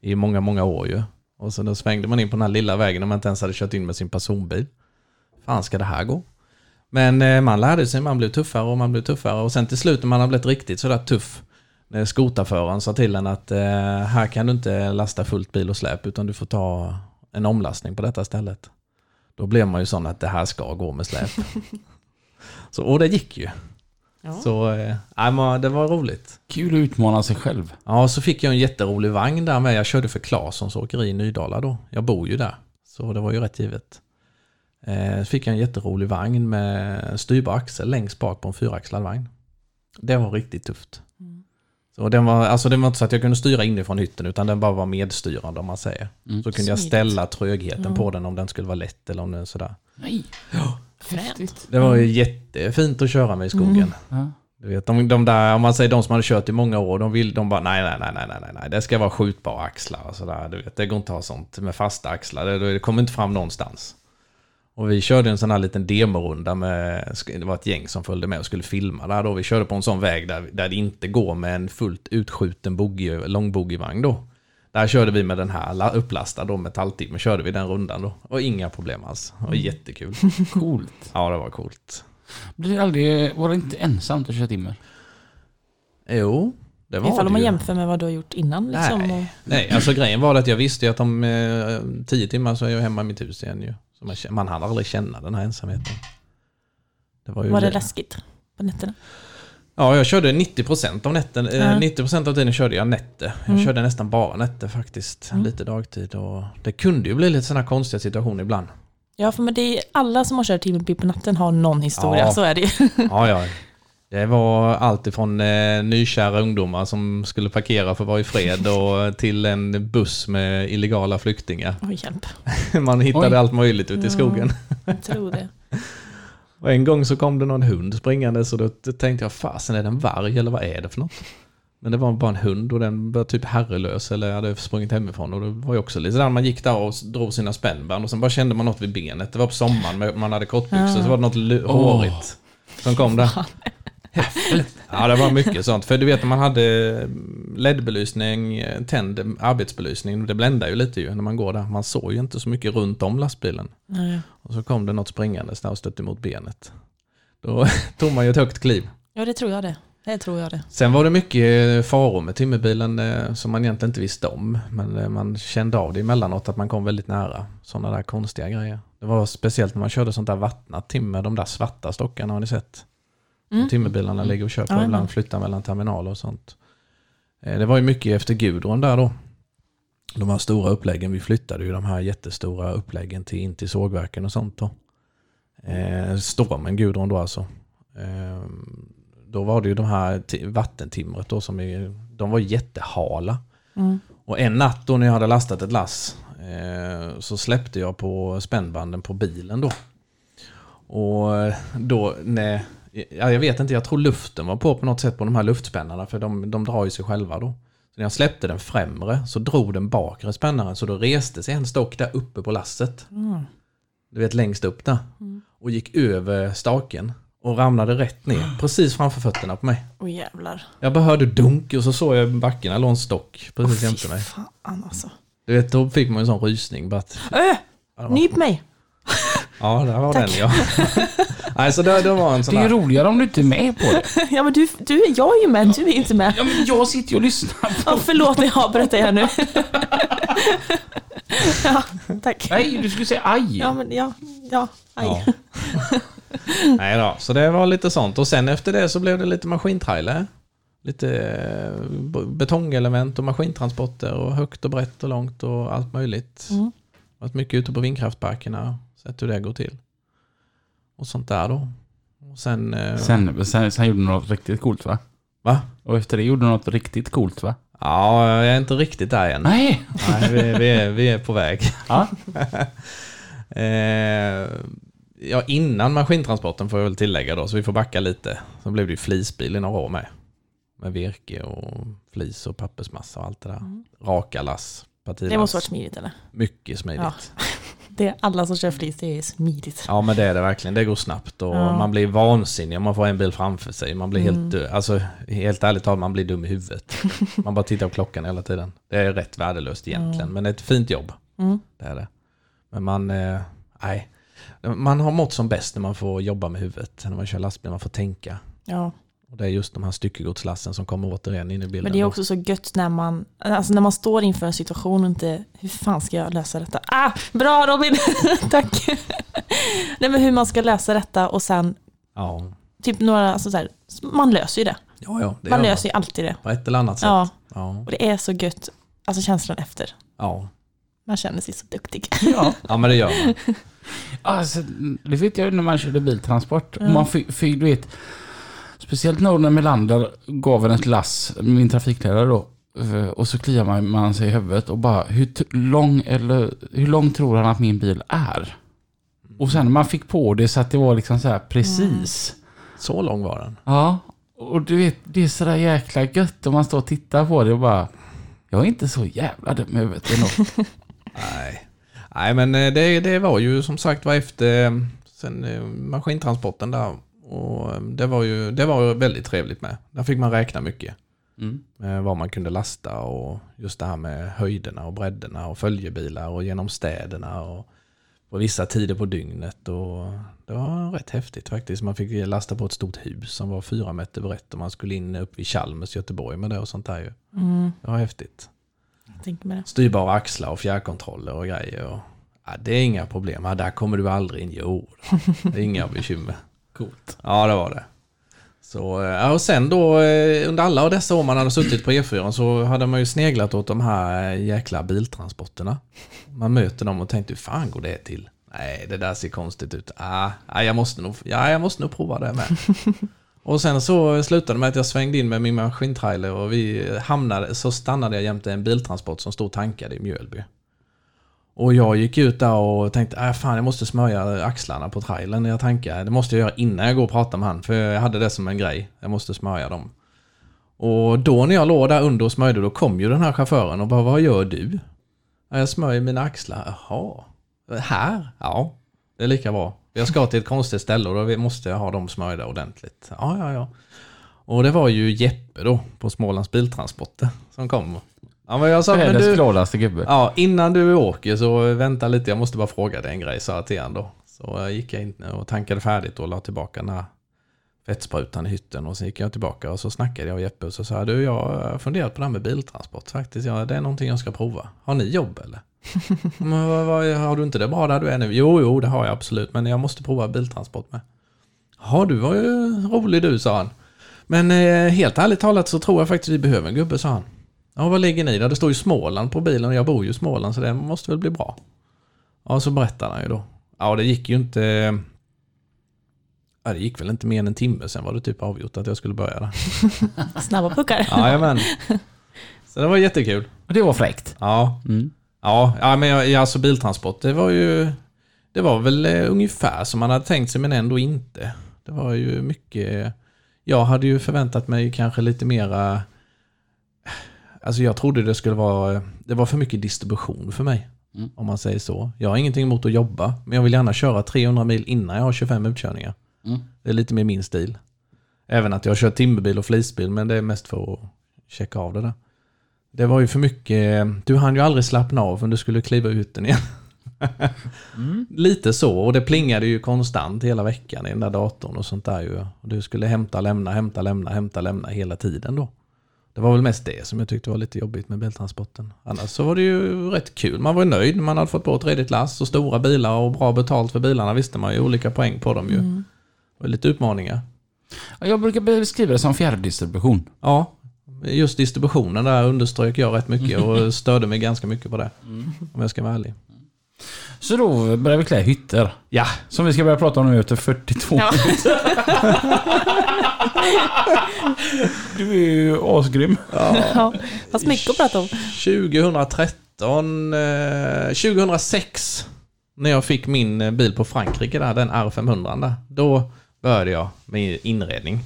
i många, många år ju. Och så då svängde man in på den här lilla vägen när man inte ens hade kört in med sin personbil. Fan ska det här gå? Men eh, man lärde sig, man blev tuffare och man blev tuffare. Och sen till slut när man har blivit riktigt sådär tuff, när skotarföraren sa till en att eh, här kan du inte lasta fullt bil och släp utan du får ta en omlastning på detta stället. Då blev man ju sån att det här ska gå med släp. så, och det gick ju.
Ja.
Så eh, nej, man- det var roligt.
Kul att utmana sig själv.
Ja, så fick jag en jätterolig vagn där med. Jag körde för Claessons åkeri i Nydala då. Jag bor ju där. Så det var ju rätt givet. Eh, fick jag en jätterolig vagn med styrbar axel längst bak på en fyraxlad vagn. Det var riktigt tufft. Så den var, alltså den var inte så att jag kunde styra inifrån hytten utan den bara var medstyrande om man säger.
Mm.
Så kunde jag
Smidigt.
ställa trögheten på den om den skulle vara lätt eller om den sådär.
Nej.
Fränt.
Det var ju jättefint att köra med i skogen.
Ja.
Du vet, de, de där, om man säger de som hade kört i många år, de, vill, de bara nej, nej, nej, nej, nej, nej, nej, det ska vara skjutbara axlar och sådär. Du vet, det går inte att ha sånt med fasta axlar, det, det kommer inte fram någonstans. Och vi körde en sån här liten demorunda med, sk- det var ett gäng som följde med och skulle filma där då. Vi körde på en sån väg där, där det inte går med en fullt utskjuten boogie, lång boogievagn då. Där körde vi med den här la- upplastad då, metalltimmen, körde vi den rundan då. Och inga problem alls. Det var jättekul.
Coolt.
Ja, det var coolt.
Blir det aldrig, var det inte ensamt att köra timmer?
Jo, det var
Ifall
det
om man
ju.
jämför med vad du har gjort innan. Liksom, och,
Nej. Nej, alltså grejen var att jag visste ju att om eh, tio timmar så är jag hemma i mitt hus igen ju. Så man, man hann aldrig känna den här ensamheten. Det var, ju
var det läskigt på nätterna?
Ja, jag körde 90% av nätten. eh,
Ja. Mm.
90% av tiden körde jag nätter. Jag körde nästan bara nätter faktiskt. Lite dagtid och det kunde ju bli lite sådana konstiga situationer ibland.
Ja, för men det är alla som har kört timmerbil på natten har någon historia,
Ja.
så är det ju.
Ja, ja. Det var allt ifrån eh, nykära ungdomar som skulle parkera för att vara i fred och till en buss med illegala flyktingar.
Oj, hjälp.
Man hittade
Oj.
allt möjligt ute i
Ja.
skogen.
Jag tror det.
Och en gång så kom det någon hund springande så då t- tänkte jag, fasen är det en varg eller vad är det för något? Men det var bara en hund och den var typ herrelös eller hade sprungit hemifrån. Och det var ju också lite sådär, man gick där och s- drog sina spännband och sen bara kände man något vid benet. Det var på sommaren, men man hade kortbyxor,
Ah.
så var det något lu-
Åh.
hårigt som kom där. Ja, det var mycket sånt. För du vet när man hade LED-belysning, eh, tänd arbetsbelysning, det bländar ju lite ju när man går där. Man såg ju inte så mycket runt om lastbilen.
Nej.
Och så kom det något springandes där och stötte mot benet. Då tog man ju ett högt kliv.
Ja, det tror jag det. Det tror jag det.
Sen var det mycket eh, faror med timmerbilen eh, som man egentligen inte visste om. Men eh, man kände av det emellanåt att man kom väldigt nära sådana där konstiga grejer. Det var speciellt när man körde sånt där vattnat timmer, de där svarta stockarna har ni sett?
Mm.
Timmerbilarna ligger och kör på
Ja,
ibland,
ja.
flyttar mellan terminaler och sånt. Eh, Det var ju mycket efter Gudrun där då. De här stora uppläggen, vi flyttade ju de här jättestora uppläggen till, in till sågverken och sånt då. Eh, stormen Gudrun då alltså. Eh, då var det ju de här ti- vattentimret då som är, de var jättehala.
Mm.
Och en natt då när jag hade lastat ett lass eh, så släppte jag på spännbanden på bilen då. Och då, nej, ja, jag vet inte, jag tror luften var på på något sätt på de här luftspännarna för de, de drar ju sig själva då. Så när jag släppte den främre så drog den bakre spännaren så då reste sig en stock där uppe på lasset.
Mm.
Du vet längst upp där. Och gick över staken och ramlade rätt ner precis framför fötterna på mig.
Åh jävlar.
Jag bara hörde dunk och så såg jag i backen, där låg en stock precis
Åh,
jämte mig.
fan alltså.
Du vet, då fick man ju en sån rysning. Bara att,
Öh!
ja, det var-
Nyp mig!
ja, där var
Tack.
den ja. Nej, så det, det var en sån
Det är ju
där.
roligare om du inte är med på det.
ja men du, du, jag är ju med, du är inte med.
Ja, men jag sitter ju och lyssnar.
Ja, förlåt när jag avbröt dig här nu. ja, tack.
Nej, du skulle säga aj.
Ja, men ja, ja, aj.
Ja. Nej då, så det var lite sånt. Och sen efter det så blev det lite maskintrailer. Lite eh, b- betongelement och maskintransporter och högt och brett och långt och allt möjligt.
Mm.
Varit mycket ute på vindkraftparkerna, sett hur det går till. Och sånt där då. Och sen... eh,
Sen, sen, sen gjorde du något riktigt coolt va?
Va?
Och efter det gjorde du något riktigt coolt va?
Ja, jag är inte riktigt där än.
Nej!
Nej, vi, vi, är, vi är på väg.
Ja.
Eh, ja, innan maskintransporten får jag väl tillägga då, så vi får backa lite. Så blev det ju flisbil i några år med. Med virke och flis och pappersmassa och allt det där. Raka lass, partilass.
Mm. Det måste varit smidigt eller?
Mycket smidigt. Ja.
Ja. Det är alla som kör flis, det är smidigt.
men det är det verkligen. Det går snabbt och
Ja.
man blir vansinnig om man får en bil framför sig. Man blir
Mm.
helt, dö- alltså helt ärligt talat, man blir dum i huvudet. Man bara tittar på klockan hela tiden. Det är rätt värdelöst egentligen,
Ja.
men det är ett fint jobb.
Mm.
Det är det. Men man, eh, nej. Man har mått som bäst när man får jobba med huvudet, när man kör lastbil, man får tänka.
Ja.
Och det är just de här styckegodslassen som kommer återigen in i bilden.
Men det är också så gött när man, alltså när man står inför en situation och inte, hur fan ska jag lösa detta? Ah, bra Robin! Tack! Nej men hur man ska lösa detta och sen,
Ja,
typ några, alltså så här, man löser ju det.
ja, ja det
Man
gör man.
löser ju alltid det.
På ett eller annat sätt. Ja.
Ja,
Ja.
och det är så gött, alltså känslan efter.
Ja.
Man känner sig så duktig.
ja.
men det gör man.
Alltså, det vet jag ju när man körde biltransport.
Mm.
Man fick, fick, du vet, speciellt Norne Melander gav en ett lass, min trafikledare då, eh, och så kliar man, man sig i huvudet och bara, hur t- lång, eller, hur lång tror han att min bil är? Och sen när man fick på det så att det var liksom så här precis.
Så lång var den.
Ja, och du vet, det är sådär jäkla gött om man står och tittar på det och bara Jag är inte så jävla dum i huvudet ändå.
Nej. Nej, men eh, det, det var ju som sagt var efter eh, sen eh, maskintransporten där. Och eh, det var ju det var ju väldigt trevligt med. Där fick man räkna mycket.
Mm.
eh, vad man kunde lasta och just det här med höjderna och bredderna och följebilar och genom städerna och på vissa tider på dygnet. Och det var rätt häftigt faktiskt. Man fick lasta på ett stort hus som var fyra meter brett och man skulle in upp vid Chalmers i Göteborg med det och sånt där ju.
Mm,
Det var häftigt.
jag tänker med det.
Styrbara axlar och fjärrkontroller och grejer. Och, ja, det är inga problem. Ja, där kommer du aldrig in. Jo, då. det är inga bekymmer.
Coolt.
Ja, det var det. Så, eh, ja, och sen då eh, under alla av dessa år man hade suttit på E4 så hade man ju sneglat åt de här eh, jäkla biltransporterna. Man möter dem och tänkte, hur fan går det till? Nej, det där ser konstigt ut. Ah, ah, jag, måste nog, ja, jag måste nog prova det med. Och sen så slutade det med att jag svängde in med min maskintrailer och vi hamnade, så stannade jag jämte en biltransport som stod tankad i Mjölby. Och jag gick ut där och tänkte, äh, fan jag måste smörja axlarna på trailern när jag tankar. Det måste jag göra innan jag går och pratar med han, för jag hade det som en grej. Jag måste smörja dem. Och då när jag låg där under och smörjde, då kom ju den här chauffören och bara, vad gör du? "Ja, Jag smörjer mina axlar. Jaha. Här? Ja. Det är lika bra. Jag ska till ett konstigt ställe och då måste jag ha dem smörjda ordentligt. Ja, ja, ja. Och det var ju Jeppe då, på Smålands Biltransporter, som kom. alltså, Ja, men jag sa, men
Världens
du,
gladaste gubbe.
Ja, innan du åker så vänta lite, jag måste bara fråga dig en grej, sa jag till honom då. Så jag gick jag in och tankade färdigt och la tillbaka den här fettsprutan i hytten och sen gick jag tillbaka och så snackade jag och Jeppe och så sa jag, du jag har funderat på det här med biltransport faktiskt, ja, det är någonting jag ska prova. Har ni jobb eller? Men vad, vad, har du inte det bra där du är nu? Jo, jo, det har jag absolut, men jag måste prova biltransport med. Ja, du var ju rolig du, sa han. Men eh, helt ärligt talat så tror jag faktiskt vi behöver en gubbe, sa han. Ja, vad ligger ni där? Det står ju Småland på bilen och jag bor ju i Småland så det måste väl bli bra. Ja, så berättade han ju då. Ja, det gick ju inte... Ja, det gick väl inte mer än en timme sen var det typ avgjort att jag skulle börja där.
Snabba puckar.
Jajamän. Så det var jättekul.
Och det var fräckt.
Ja,
Mm.
ja, ja men jag, alltså biltransport, det var ju... Det var väl eh, ungefär som man hade tänkt sig men ändå inte. Det var ju mycket... Jag hade ju förväntat mig kanske lite mera... Alltså jag trodde det skulle vara... eh, Det var för mycket distribution för mig.
Mm.
Om man säger så. Jag har ingenting emot att jobba, men jag vill gärna köra 300 mil innan jag har 25 utkörningar.
Mm.
Det är lite mer min stil. Även att jag kör timmerbil och flisbil, men det är mest för att checka av det där. Det var ju för mycket, du hann ju aldrig slappna av förrän du skulle kliva ut den igen. Lite så, och det plingade ju konstant hela veckan i den där datorn och sånt där ju. Och du skulle hämta, lämna, hämta, lämna, hämta, lämna hela tiden då. Det var väl mest det som jag tyckte var lite jobbigt med biltransporten. Annars så var det ju rätt kul. Man var ju nöjd. Man hade fått bort redigt lass och stora bilar och bra betalt för bilarna visste man ju. Olika poäng på dem ju. Och lite utmaningar.
Jag brukar beskriva det som fjärrdistribution.
Ja, just distributionen där underströk jag rätt mycket och störde mig ganska mycket på det. Om jag ska vara ärlig.
Så då börjar vi klä hytter.
Ja,
Som vi ska börja prata om nu efter 42
Ja.
minuter. du är ju asgrym.
Ja, fast mycket att prata om.
2013, eh, 2006 när jag fick min eh, bil på Frankrike där, den R500 där, då började jag med inredning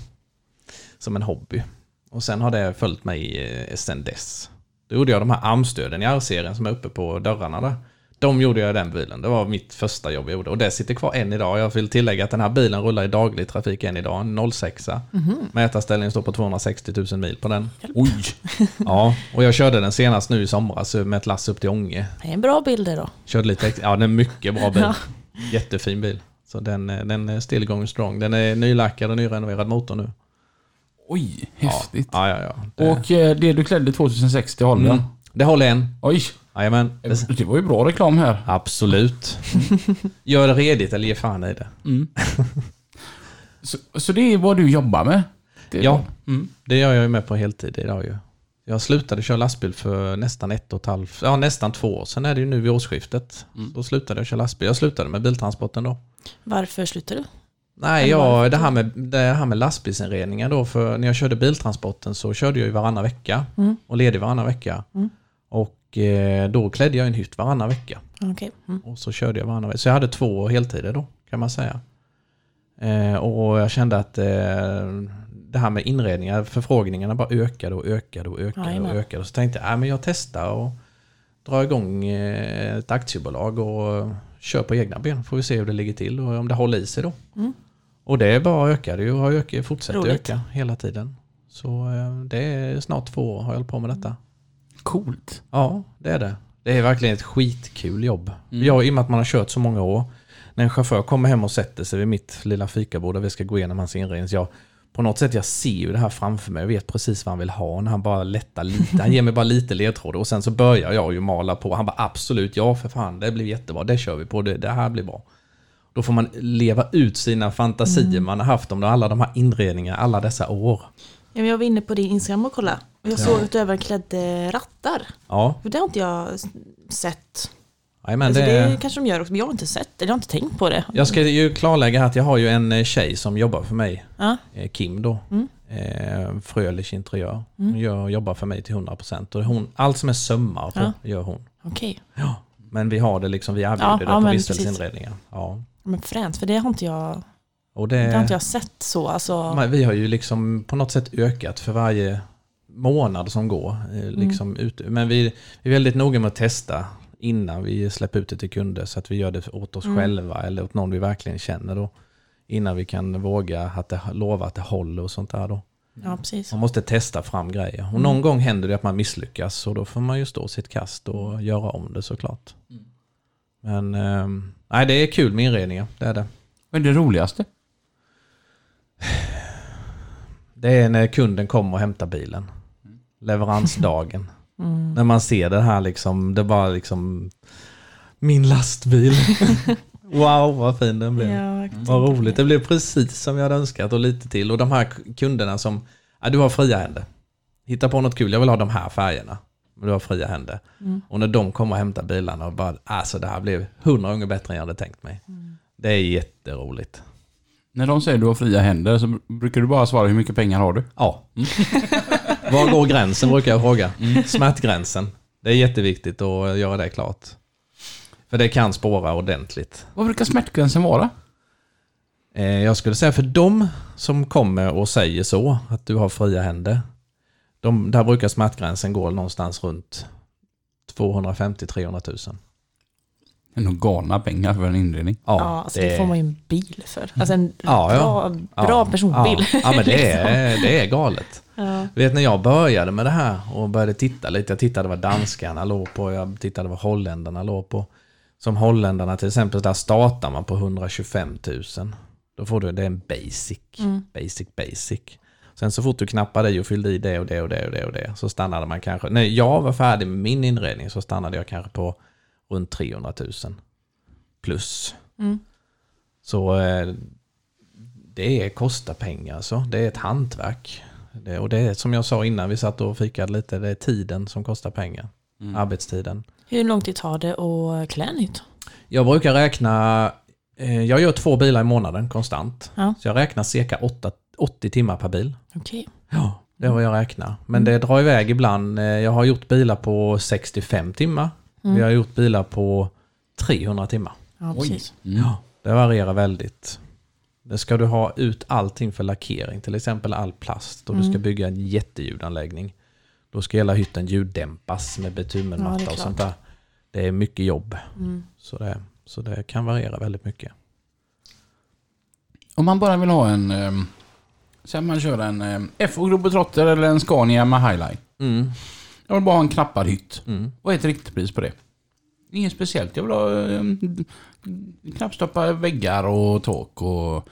som en hobby. Och sen har det följt mig eh, sen dess. Då gjorde jag de här armstöden i R-serien som är uppe på dörrarna där. De gjorde jag i den bilen. Det var mitt första jobb jag gjorde. Och det sitter kvar än idag. Jag vill tillägga att den här bilen rullar i daglig trafik än idag. En 06.
Mhm.
Mätarställningen står på 260 000 mil på den.
Oj.
Ja, och jag körde den senast nu i somras eh, med ett lass upp till Ånge.
Det är en bra bilder då.
Körde lite extra. Ja, den är mycket bra bil.
Ja.
Jättefin bil. Så den, eh, den är still going strong. Den är nylackad och nyrenoverad motor nu.
Oj,
Ja,
häftigt.
ja, ja. ja. Det,
Och eh, det du klädde 2006, det håller
mm,
den?
det håller än.
Oj,
Jajamän. Det-
det var ju bra reklam här.
Absolut. Gör det redigt eller ge fan i det.
Så, så det är vad du jobbar med? Det-
Ja,
Mm.
det gör jag ju med på heltid idag ju. Jag slutade köra lastbil för nästan ett och ett halvt, ja nästan två år sedan är det ju nu vid årsskiftet. Då slutade jag köra lastbil. Jag slutade med biltransporten då.
Varför slutar du?
Nej,
Eller
jag,
varför?
det, här med, det här med lastbilsinredningar då, för när jag körde biltransporten så körde jag ju varannan vecka
Mm.
och ledig varannan vecka.
Mm.
Och eh, då klädde jag i en hytt varannan vecka.
Okej. Mm.
Och så körde jag varannan vecka. Så jag hade två heltider då, kan man säga. Eh, och jag kände att eh, det här med inredningar, förfrågningarna bara ökade och ökade och ökade och
Jajamän.
ökade. Så tänkte jag, äh, men jag testar och drar igång eh, ett aktiebolag och kör på egna ben. Får vi se hur det ligger till och om det håller i sig då. Och det bara ökade ju och har ökat, fortsatt
Roligt.
öka hela tiden. Så eh, det är snart två år har jag hållit på med detta.
Coolt.
Ja, det är det. Det är verkligen ett skitkul jobb. Jag, I och med att man har kört så många år. När en chaufför kommer hem och sätter sig vid mitt lilla fikabord där vi ska gå igenom hans inredning. Så jag, på något sätt jag ser ju det här framför mig. Jag vet precis vad han vill ha. När han bara lättar lite. Han ger mig bara lite ledtrådar. Och sen så börjar jag ju mala på. Han bara absolut, ja för fan. Det blir jättebra. Det kör vi på. Det, det här blir bra. Då får man leva ut sina fantasier man har haft om alla de här inredningarna alla dessa år.
Ja, men Jag var inne på din Instagram och kollade. Och jag såg att du även klädde rattar.
Ja,
För det har inte jag s- sett.
Jajamän,
alltså,
det,
det kanske de gör också, men jag har inte sett det, jag har inte tänkt på det.
Jag ska ju klarlägga här att jag har ju en eh, tjej som jobbar för mig,
Ja.
eh, Kim då.
Mm.
Eh, Frölich Interiör. Hon gör, jobbar för mig till 100%. Och hon, allt som är sömmar på gör hon.
Okej,
Men vi har det liksom, vi erbjuder
Ja,
det
ja,
på
men
vistelsinredningar. Ja.
men fränt, för det har inte jag,
Och
det har inte
det,
jag sett så. Alltså,
men vi har ju liksom på något sätt ökat för varje månad som går. eh, Liksom ut, men vi är väldigt noga med att testa innan vi släpper ut det till kunder så att vi gör det åt oss själva eller åt någon vi verkligen känner då. Innan vi kan våga att det, lova att det håller och sånt där då.
ja, precis.
Man måste testa fram grejer. Och någon gång händer det att man misslyckas och då får man ju stå sitt kast och göra om det såklart. Men ehm, nej, det är kul med inredningar, det är det.
Vad är det roligaste?
Det är när kunden kommer och hämtar bilen. Leveransdagen. När man ser det här liksom, det är bara liksom min lastbil. wow, vad fin den blev.
Ja,
Vad roligt, det blev precis som jag hade önskat och lite till. Och de här k- kunderna som, ja, du har fria händer. Hitta på något kul, jag vill ha de här färgerna. Men du har fria händer. Och när de kommer och hämtar bilarna och bara, alltså det här blev hundra gånger bättre än jag hade tänkt mig. Det är jätteroligt.
När de säger du har fria händer så brukar du bara svara hur mycket pengar har du?
Ja. Mm. Var går gränsen brukar jag fråga. Smärtgränsen. Det är jätteviktigt att göra det klart. För det kan spåra ordentligt.
Vad brukar smärtgränsen vara?
Eh, Jag skulle säga för de som kommer och säger så, att du har fria händer. De, där brukar smärtgränsen gå någonstans runt 250-300 000.
Det är nog galna pengar för en inredning.
Ja,
Ja, alltså det, får man ju en bil för. Alltså en
Ja, ja.
bra, bra Liksom. personbil.
Ja, ja men det är, det är galet.
Ja.
Du vet när jag började med det här och började titta lite. Jag tittade vad danskarna låg på, jag tittade vad holländarna låg på. Som holländarna till exempel, där startar man på 125 000. Då får du, det är en basic,
Mm.
basic, basic. Sen så fort du knappade i och fyllde i det och det och det och det och det så stannade man kanske, när jag var färdig med min inredning så stannade jag kanske på runt 300 000 plus.
Mm.
Så eh, det kostar pengar alltså. Det är ett hantverk. Det, och det är som jag sa innan, vi satt och fikade lite, det är tiden som kostar pengar. Arbetstiden.
Hur lång tid tar det att klä nytt?
Jag brukar räkna, eh, jag gör två bilar i månaden konstant.
Ja.
Så jag räknar cirka åtta, 80 timmar per bil.
Okej.
Ja, det är vad jag räknar. Men det drar iväg ibland. Eh, Jag har gjort bilar på 65 timmar. Vi har gjort bilar på 300 timmar.
Ja,
Oj.
precis.
Ja, det varierar väldigt. Det ska du ha ut allting för lackering, till exempel all plast och du
Mm.
ska bygga en jätteljudanläggning. Då ska hela hytten ljuddämpas med
Ja,
bitumenmatta
det är
och
klart. Mm.
sånt där. Det är mycket jobb. Så, det, så det kan variera väldigt mycket.
Om man bara vill ha en... ehm, Sen man kör en eh, FO Globetrotter eller en Scania med Highline.
Mm.
Jag vill bara ha en knappad hytt.
Mm.
Vad är ett riktigt pris på det? Inget speciellt. Jag vill ha um, knappstoppa väggar och tak och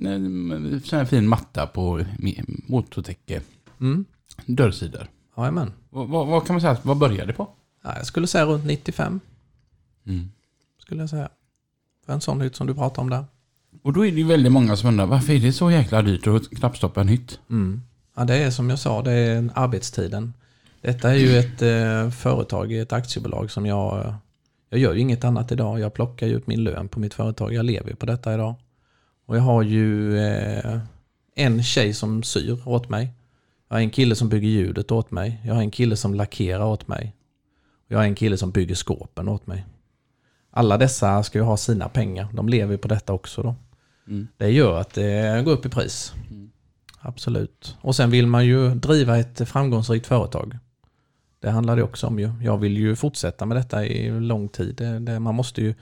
um, sån här fin matta på me- motortäcke.
Mm.
Dörrsidor.
Jajamän.
Vad, vad, vad kan man säga? att- Vad börjar det på?
Ja, jag skulle säga runt 95,
Mm.
skulle jag säga. För en sån hytt som du pratade om där.
Och då är det ju väldigt många som undrar varför är det så jäkla dyrt att knappstoppa en hytt?
Mm. Ja, det är som jag sa, det är arbetstiden. Detta är ju ett eh, företag, ett aktiebolag som jag... Jag gör ju inget annat idag. Jag plockar ju ut min lön på mitt företag. Jag lever ju på detta idag. Och jag har ju eh, en tjej som syr åt mig. Jag har en kille som bygger ljudet åt mig. Jag har en kille som lackerar åt mig. Jag har en kille som bygger skåpen åt mig. Alla dessa ska ju ha sina pengar. De lever ju på detta också då.
Mm.
Det gör att det går upp i pris. Absolut. Och sen vill man ju driva ett framgångsrikt företag. Det handlar det också om ju. Jag vill ju fortsätta med detta i lång tid. Det, det, man, måste ju,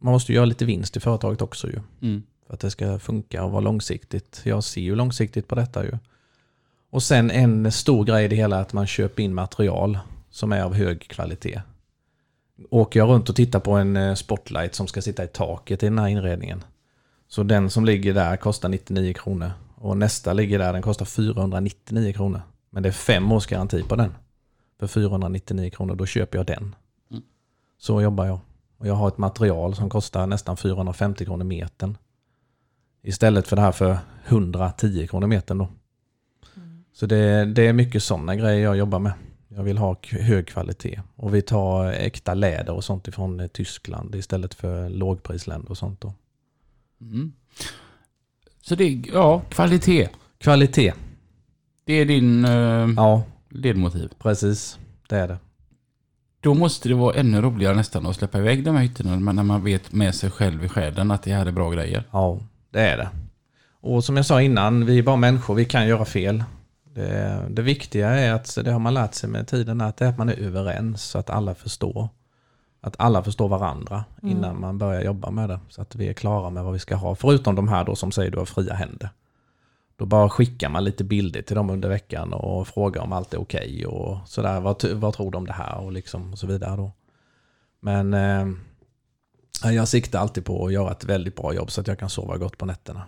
man måste ju göra lite vinst i företaget också ju. För att det ska funka och vara långsiktigt. Jag ser ju långsiktigt på detta ju. Och sen en stor grej i det hela är att man köper in material som är av hög kvalitet. Åker jag runt och tittar på en eh, spotlight som ska sitta i taket i den här inredningen. Så den som ligger där kostar 99 kronor. Och nästa ligger där, den kostar 499 kronor. Men det är fem års garanti på den. För 499 kronor, då köper jag den. Så jobbar jag. Och jag har ett material som kostar nästan 450 kronor metern. Istället för det här för 110 kronor metern då. Så det, det är mycket sådana grejer jag jobbar med. Jag vill ha k- hög kvalitet. Och vi tar äkta läder och sånt ifrån eh, Tyskland istället för lågprisländer och sånt. Då.
Mm. Så det är, ja, kvalitet.
Kvalitet.
Det är din eh,
Ja,
ledmotiv.
precis. Det är det.
Då måste det vara ännu roligare nästan att släppa iväg de här hytterna men när man vet med sig själv i själen att det här är bra grejer.
Ja, det är det. Och som jag sa innan, vi är bara människor, vi kan göra fel. Det, det viktiga är att, det har man lärt sig med tiden, att det är att man är överens så att alla förstår. Att alla förstår varandra innan man börjar jobba med det. Så att vi är klara med vad vi ska ha. Förutom de här då som säger du har fria händer. Då bara skickar man lite bilder till dem under veckan och frågar om allt är okej och sådär. Vad, ty- vad tror de om det här och, liksom, och så vidare då. Men eh, Ja, Jag siktar alltid på att göra ett väldigt bra jobb så att jag kan sova gott på nätterna.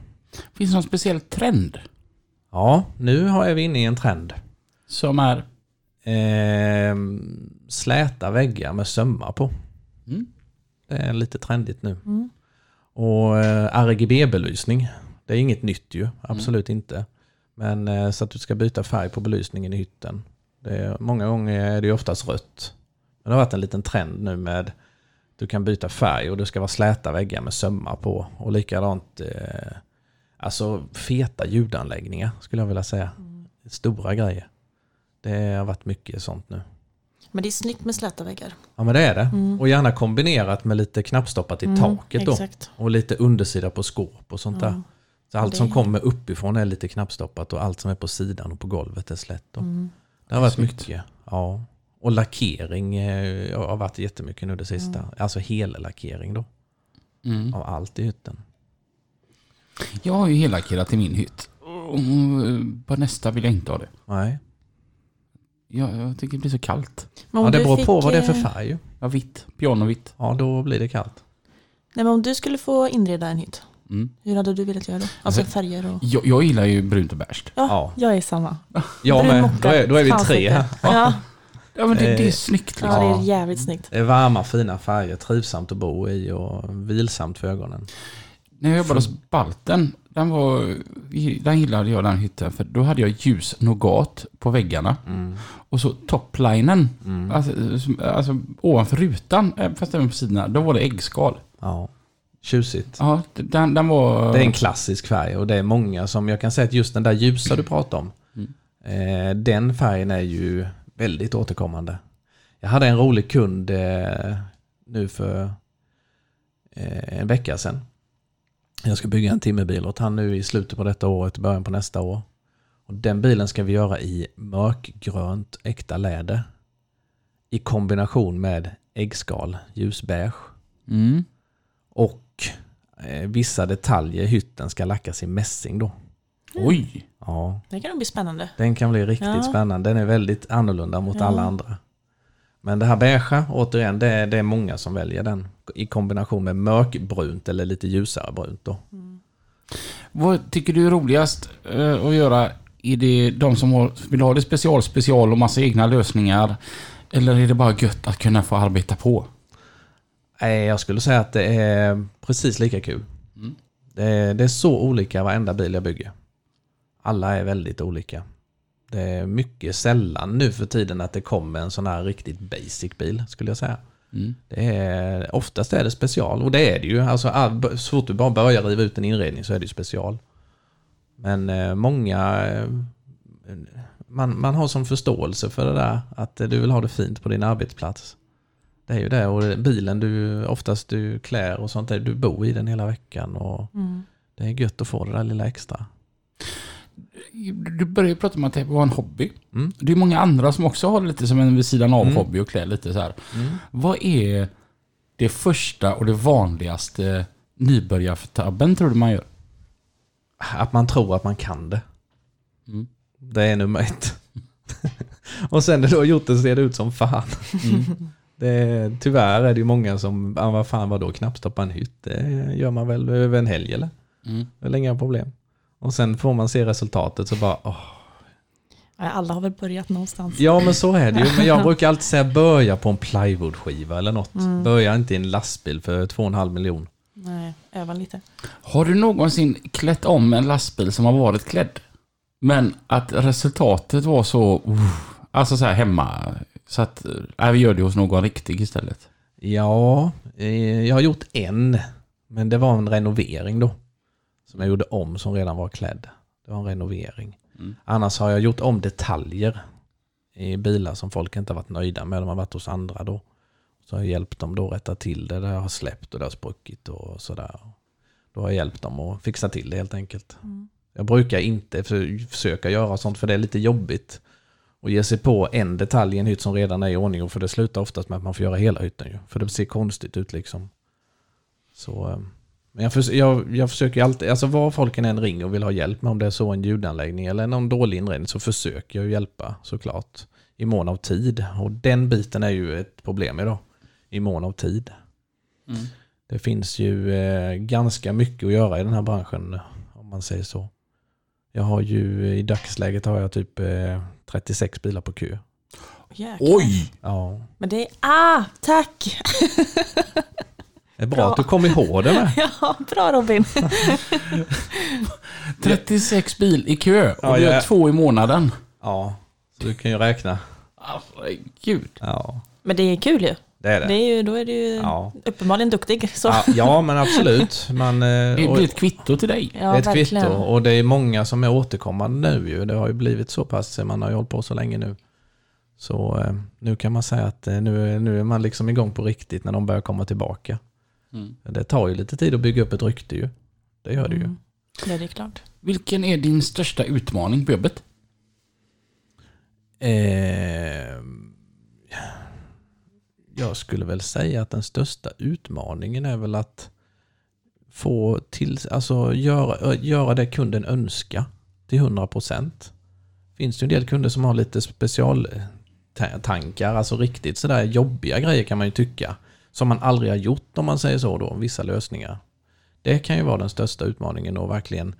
Finns det någon speciell trend
Ja, nu har jag- är vi inne i en trend.
som är...
Ehm, släta väggar med sömmar på.
Mm.
Det är lite trendigt nu. Och eh, RGB-belysning. Det är inget nytt ju, absolut inte. Men eh, så att du ska byta färg på belysningen i hytten. Det är, många gånger är det ju oftast rött. Men det har varit en liten trend nu med du kan byta färg och det ska vara släta väggar med sömmar på. Och likadant eh, alltså feta ljudanläggningar skulle jag vilja säga. Stora grejer. Det har varit mycket sånt nu.
Men det är snyggt med släta väggar.
Ja men det är det. Och gärna kombinerat med lite knappstoppat i taket då.
Mm. Exakt.
Och lite undersida på skåp och sånt där. Så allt
Det
som
är-
kommer uppifrån är lite knappstoppat och allt som är på sidan och på golvet är slätt. Då.
Mm.
Det har varit
Snyggt.
mycket. Ja. Och lackering eh, har varit jättemycket nu det sista. Alltså hellackering då.
Mm.
Av allt i hytten.
Jag har ju hellackerat till min hytt. Och, eh, På nästa vill jag inte ha det.
Nej.
Jag, jag tycker det blir så kallt.
Men om
Ja, det
du
beror på
fick,
vad det är för
eh,
färg. ju.
Ja, vitt. Pianovitt.
Ja, då blir det kallt.
Nej, men om du skulle få inreda en hytt,
Mm.
hur hade du velat göra då? Alltså färger och...
Jag, jag gillar ju brunt och beige.
Ja,
Ja.
jag är samma.
Ja,
Brun
men
mocka.
då är, då är vi
Fan,
tre
sitter.
här.
Ja,
Ja, men det, det är
Eh,
snyggt.
ja, det
Liksom.
är jävligt snyggt.
Det är varma fina färger, trivsamt att bo i och vilsamt för ögonen.
När jag jobbade hos Balten, den, var, den gillade jag den hytten för då hade jag ljus nougat på väggarna. Och så toplinen, alltså, som- alltså ovanför rutan, eh, fast även på sidorna, då var det äggskal.
Ja, tjusigt.
Ja, d- den, den var...
Det är en klassisk färg och det är många som, jag kan säga att just den där ljusa du pratar om, eh, den färgen är ju väldigt återkommande. Jag hade en rolig kund eh, nu för eh, en vecka sedan. Jag ska bygga en timmerbil åt han nu i slutet på detta året, början på nästa år. Och den bilen ska vi göra i mörkgrönt äkta läder i kombination med äggskal, ljusbeige.
Mm.
Och eh, vissa detaljer i hytten ska lackas i mässing då.
Oj!
Ja,
Det kan nog bli spännande.
den kan bli riktigt
Ja.
spännande. Den är väldigt annorlunda mot
Ja.
alla andra. Men det här beigea, återigen, det är, det är många som väljer den. I kombination med mörkbrunt eller lite ljusare brunt då.
Vad tycker du är roligast eh, att göra? Är det de som har, vill ha det special, special och massa egna lösningar? Eller är det bara gött att kunna få arbeta på?
Eh, Jag skulle säga att det är precis lika kul. Mm. Det, är, det är så olika varenda bil jag bygger. Alla är väldigt olika. Det är mycket sällan nu för tiden att det kommer en sån här riktigt basic bil skulle jag säga.
Mm.
Det är, oftast är det special och det är det ju. Alltså, all- så fort du bara börjar riva ut en inredning så är det ju special. Men eh, många... Eh, man, man har sån förståelse för det där att eh, du vill ha det fint på din arbetsplats. Det är ju det och bilen du oftast du klär och sånt där, du bor i den hela veckan och det är gött att få det där lilla extra.
Du började ju prata om att det var en hobby.
Mm.
Det är många andra som också har det lite som en vid sidan av hobby och klär lite så här.
Mm.
Vad är det första och det vanligaste nybörjartabben tror du man gör?
Att man tror att man kan det.
Mm.
Det är nummer ett. och sen när du har gjort det ser det ut som fan. Mm. Det är, tyvärr är det ju många som, ah, vad fan vadå, knappstoppa en hytt? Det gör man väl över en helg eller?
Mm.
Det är väl inga problem. Och sen får man se resultatet så bara, åh.
Ja, Alla har väl börjat någonstans.
ja men så är det ju. Men jag brukar alltid säga börja på en plywoodskiva eller något. Börja inte i en lastbil för 2,5 miljon.
Nej, öva lite.
Har du någonsin klätt om en lastbil som har varit klädd? Men att resultatet var så... uff, Alltså så här hemma. Så att, nej, vi gör det hos någon riktig istället.
Ja, eh, jag har gjort en. Men det var en renovering då. Som jag gjorde om som redan var klädd. Det var en renovering.
Mm.
Annars har jag gjort om detaljer i bilar som folk inte har varit nöjda med. De har varit hos andra då. Så har jag hjälpt dem då att rätta till det där jag har släppt och det har spruckit och sådär. Då har jag hjälpt dem att fixa till det helt enkelt. Jag brukar inte för- försöka göra sånt för det är lite jobbigt. Och ge sig på en detalj i en hytt som redan är i ordning. Och för det slutar oftast med att man får göra hela hytten ju. För det ser konstigt ut liksom. Så, eh, men jag, förs- jag, jag försöker ju alltid, alltså var folken än ringer och vill ha hjälp med, om det är så en ljudanläggning eller någon dålig inredning, så försöker jag ju hjälpa såklart. I mån av tid. Och den biten är ju ett problem idag. I mån av tid. Det finns ju eh, ganska mycket att göra i den här branschen om man säger så. Jag har ju eh, i dagsläget har jag typ eh, 36 bilar på kö.
Jäklar.
Oj!
Ja.
Men det är... Ah, tack!
Det är bra,
Bra.
att du kom ihåg det med.
ja, bra Robin.
36 bil i kö och
Ja,
vi
jag-
har två i månaden.
Ja, så du kan ju räkna.
Alltså, gud.
Ja,
Men det är kul ju.
det är det.
Det är ju då är du ju
Ja.
uppenbarligen duktig. Så.
Ja, ja, men absolut. Man, eh,
Det
och-
blir ett kvitto till dig.
Ja,
det är ett
verkligen.
kvitto och det är många som är återkommande nu ju. Det har ju blivit så pass, eh, man har ju hållit på så länge nu. Så eh, nu kan man säga att eh, nu, nu är man liksom igång på riktigt när de börjar komma tillbaka.
Mm.
Det tar ju lite tid att bygga upp ett rykte ju. Det gör det ju.
Mm. Ja, det är klart.
Vilken är din största utmaning på jobbet?
Eh, jag skulle väl säga att den största utmaningen är väl att få till, alltså göra, göra det kunden önskar till 100 procent. Finns det ju en del kunder som har lite specialtankar, alltså riktigt sådär jobbiga grejer kan man ju tycka. Som man aldrig har gjort om man säger så då, vissa lösningar. Det kan ju vara den största utmaningen då verkligen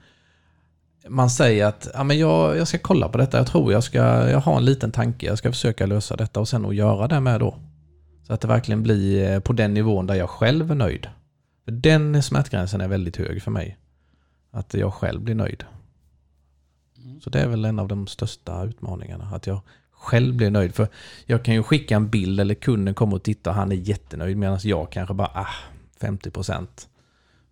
man säger att ja, men jag, jag ska kolla på detta, jag tror jag ska, jag har en liten tanke, jag ska försöka lösa detta och sen att göra det med då. Så att det verkligen blir eh, på den nivån där jag själv är nöjd. För Den smärtgränsen är väldigt hög för mig. Att jag själv blir nöjd. Så det är väl en av de största utmaningarna, att jag själv blir nöjd. För jag kan ju skicka en bild eller kunden kommer och tittar och han är jättenöjd medan jag kanske bara ah, 50 procent.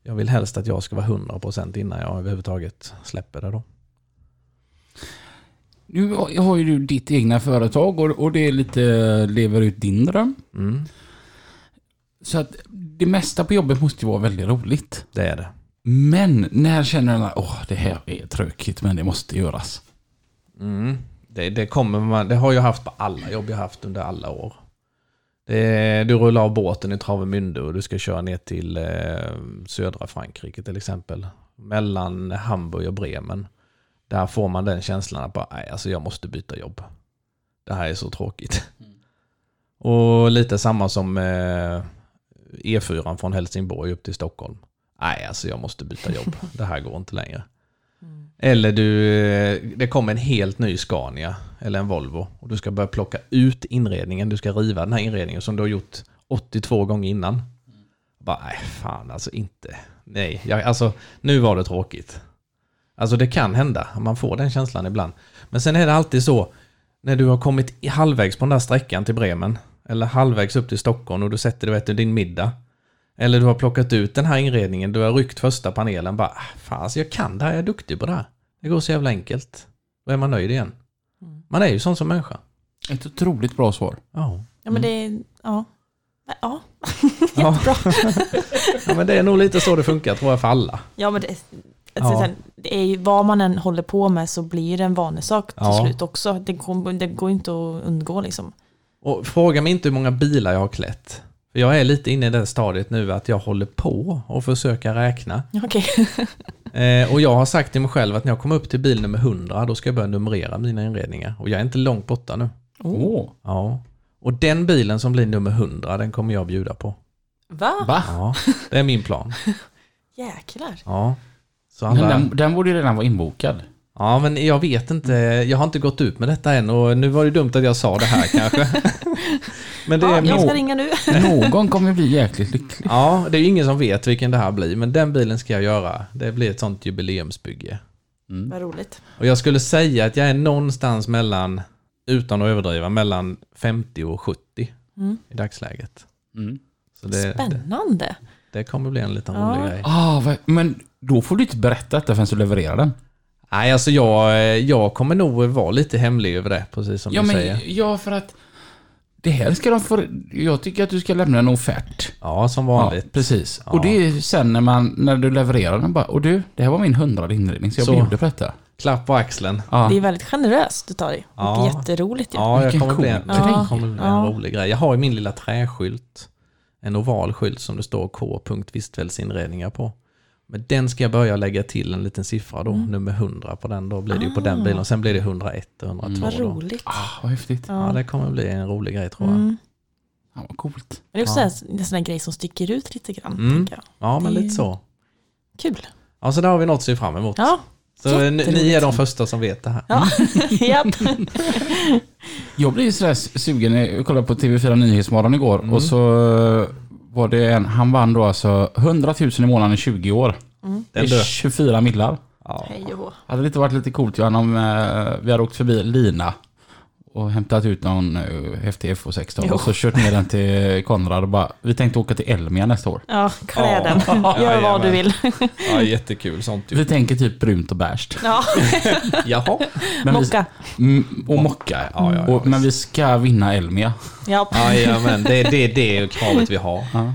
Jag vill helst att jag ska vara 100 procent innan jag överhuvudtaget släpper det då.
Nu har ju du ditt egna företag och, och det är lite lever ut din dröm.
Mm,
Så att det mesta på jobbet måste ju vara väldigt roligt.
det är det.
Men när känner du att åh, det här är tråkigt men det måste göras?
Mm. Det, det, kommer man, det har jag haft på alla jobb jag haft under alla år. Det, du rullar av båten i Travemünde och du ska köra ner till eh, södra Frankrike till exempel. Mellan Hamburg och Bremen. Där får man den känslan att bara, nej, alltså jag måste byta jobb. Det här är så tråkigt. Och lite samma som eh, E4 från Helsingborg upp till Stockholm. Nej, alltså jag måste byta jobb. Det här går inte längre. Eller du, eh, det kommer en helt ny Scania eller en Volvo och du ska börja plocka ut inredningen. Du ska riva den här inredningen som du har gjort 82 gånger innan. Bara, nej, fan alltså inte. Nej, jag, alltså nu var det tråkigt. Alltså det kan hända, man får den känslan ibland. Men sen är det alltid så, när du har kommit i- halvvägs på den där sträckan till Bremen, eller halvvägs upp till Stockholm och du sätter dig och äter din middag. Eller du har plockat ut den här inredningen, du har ryckt första panelen bara, "Ah, fan alltså jag kan det här, jag är duktig på det här. Det går så jävla enkelt. Då är man nöjd igen. Man är ju sån som människa.
Ett otroligt bra svar.
Ja.
Ja, men det är... Ja. Ja,
Mm. Ja. ja men det är nog lite så det funkar tror jag för alla.
ja men det, alltså,
Ja.
Sen, det är ju, vad man än håller på med så blir det en vanesak till
Ja.
slut också. Det, kom, det går inte att undgå liksom.
Och fråga mig inte hur många bilar jag har klätt. För jag är lite inne i det stadiet nu att jag håller på och försöka räkna.
Okej.
Eh, och jag har sagt till mig själv att när jag kommer upp till bil nummer 100 då ska jag börja numrera mina inredningar. Och jag är inte långt borta nu.
Åh,
Ja. Och den bilen som blir nummer 100 den kommer jag bjuda på.
Va?
va?
Ja, det är min plan.
Jäklar.
Ja. Så
Men
alla,
den, den borde ju redan vara inbokad.
ja, men jag vet inte. Jag har inte gått ut med detta än och nu var det dumt att jag sa det här kanske. Men det
Ja,
är
jag
min-
ska ringa nu.
Någon kommer bli jäkligt lycklig.
Ja, det är ju ingen som vet vilken det här blir, men den bilen ska jag göra. Det blir ett sånt jubileumsbygge.
Vad roligt.
Och jag skulle säga att jag är någonstans mellan utan att överdriva, mellan 50 och 70
Mm.
i dagsläget.
Mm.
Så det, det,
Spännande.
det kommer bli en liten
Ja.
rolig grej.
Ah, vad- men då får du inte berätta detta förrän du levererar den.
Nej, alltså jag, jag kommer nog vara lite hemlig över det, precis som
Ja,
du
men,
säger.
ja, för att det här ska de få... Jag tycker att du ska lämna en offert.
Ja, som
Ja,
vanligt.
precis.
Ja.
Och det är sen när, man, när du levererar den bara, och du, det här var min hundrade inredning så jag
Så.
bjuder på detta.
Klapp på axeln.
Ja.
Det är väldigt generöst utav dig. Och
Ja.
jätteroligt. Ja.
Ja, jag
Vilken
kommer bli
cool
en,
grej.
det kommer bli en
Typ. Ja.
rolig grej. Jag har ju min lilla träskylt. En oval skylt som det står K. Vistvälsinredningar på. Men den ska jag börja lägga till en liten siffra
Mm.
då, nummer 100 på den. Då blir det ju på den bilen och sen blir det 101 och
Ah.
102.
Mm. Vad
Då.
roligt.
Ah, vad häftigt. Ja.
Ja, det kommer bli en rolig grej tror jag.
Mm.
Ah, vad coolt.
Men det är också
Ja.
en sån- en sån här grej som sticker ut lite grann.
Mm.
Tänker jag.
Ja, men
Det är-
lite så.
Kul.
Ja, så där har vi något att se fram emot.
Ja,
så eh, ni- ni är
jätteroligt.
de första som vet det här.
ja. Japp.
Jag blev sådär sugen, eh, jag kollade på TV4 Nyhetsmorgon igår och så eh, var det en, han vann då alltså 100 000 i månaden i 20 år. Det
Den
är
du.
24 millar.
Ja.
Hej och hå.
Hade det inte varit lite coolt Johan om eh, vi hade åkt förbi Lina och hämtat ut någon eh, häftig FO16
Jo.
och så kört ner den till Konrad och bara, vi tänkte åka till Elmia nästa år.
Ja, klä den.
Ja,
Gör vad du
jajamän.
vill.
Ja, jättekul sånt ju.
Vi tänker typ brunt och bärst.
Ja,
Jaha.
Men vi-
mocka.
Mm, och mocka.
Ja, ja, ja,
och, men vi ska vinna Elmia.
Japp.
Jajamän, det är det, det är kravet vi har.
Ja.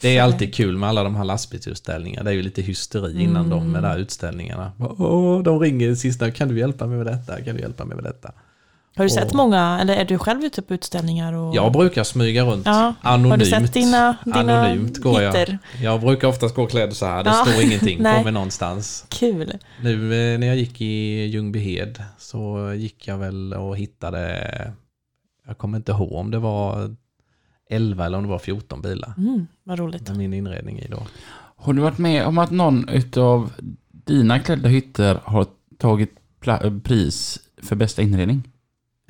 Det är alltid kul med alla de här lastbilsutställningarna. Det är ju lite hysteri innan de med där utställningarna. Mm. Åh, de ringer sista, kan du hjälpa mig med detta? Kan du hjälpa mig med detta?
Har du sett
Åh.
många, eller är du själv ute på utställningar? Och...
Jag brukar smyga runt
Ja.
anonymt.
Har du sett dina, dina
anonymt går jag.
hitter?
Jag brukar oftast gå klädd så här, det
Ja.
står ingenting på
Nej.
mig någonstans.
Kul.
Nu eh, när jag gick i Ljungbyhed så gick jag väl och hittade, jag kommer inte ihåg om det var 11 eller om det var 14 bilar
Mm, vad roligt.
med min inredning i då.
Har du varit med om att någon utav dina klädda hytter har tagit pla- eh, pris för bästa inredning?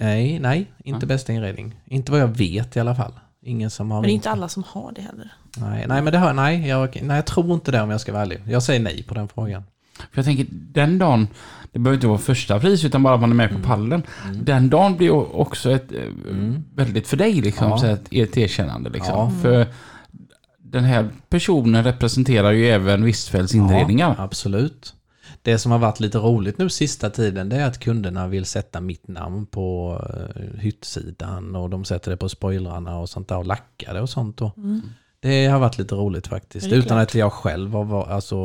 Nej, nej, inte
Nej.
bästa inredning. Inte vad jag vet i alla fall. Ingen som har...
Men det är inte alla som har det heller.
Nej, nej, men det har, nej, jag, nej, jag tror inte det om jag ska vara ärlig. Jag säger nej på den frågan.
För jag tänker, den dagen, det behöver inte vara första pris utan bara att man är
Mm.
med på pallen. Den dagen blir ju också ett, eh, väldigt för dig, liksom,
Ja.
så ett, ett erkännande. Liksom.
Ja.
För den här personen representerar ju även Wistfeldts inredningar.
Ja, absolut. Det som har varit lite roligt nu sista tiden det är att kunderna vill sätta mitt namn på eh, hyttsidan och de sätter det på spoilrarna och sånt där och lackar det och sånt då. Det har varit lite roligt faktiskt.
Ja, Mm. det är
Utan
klart.
att jag själv har var- alltså,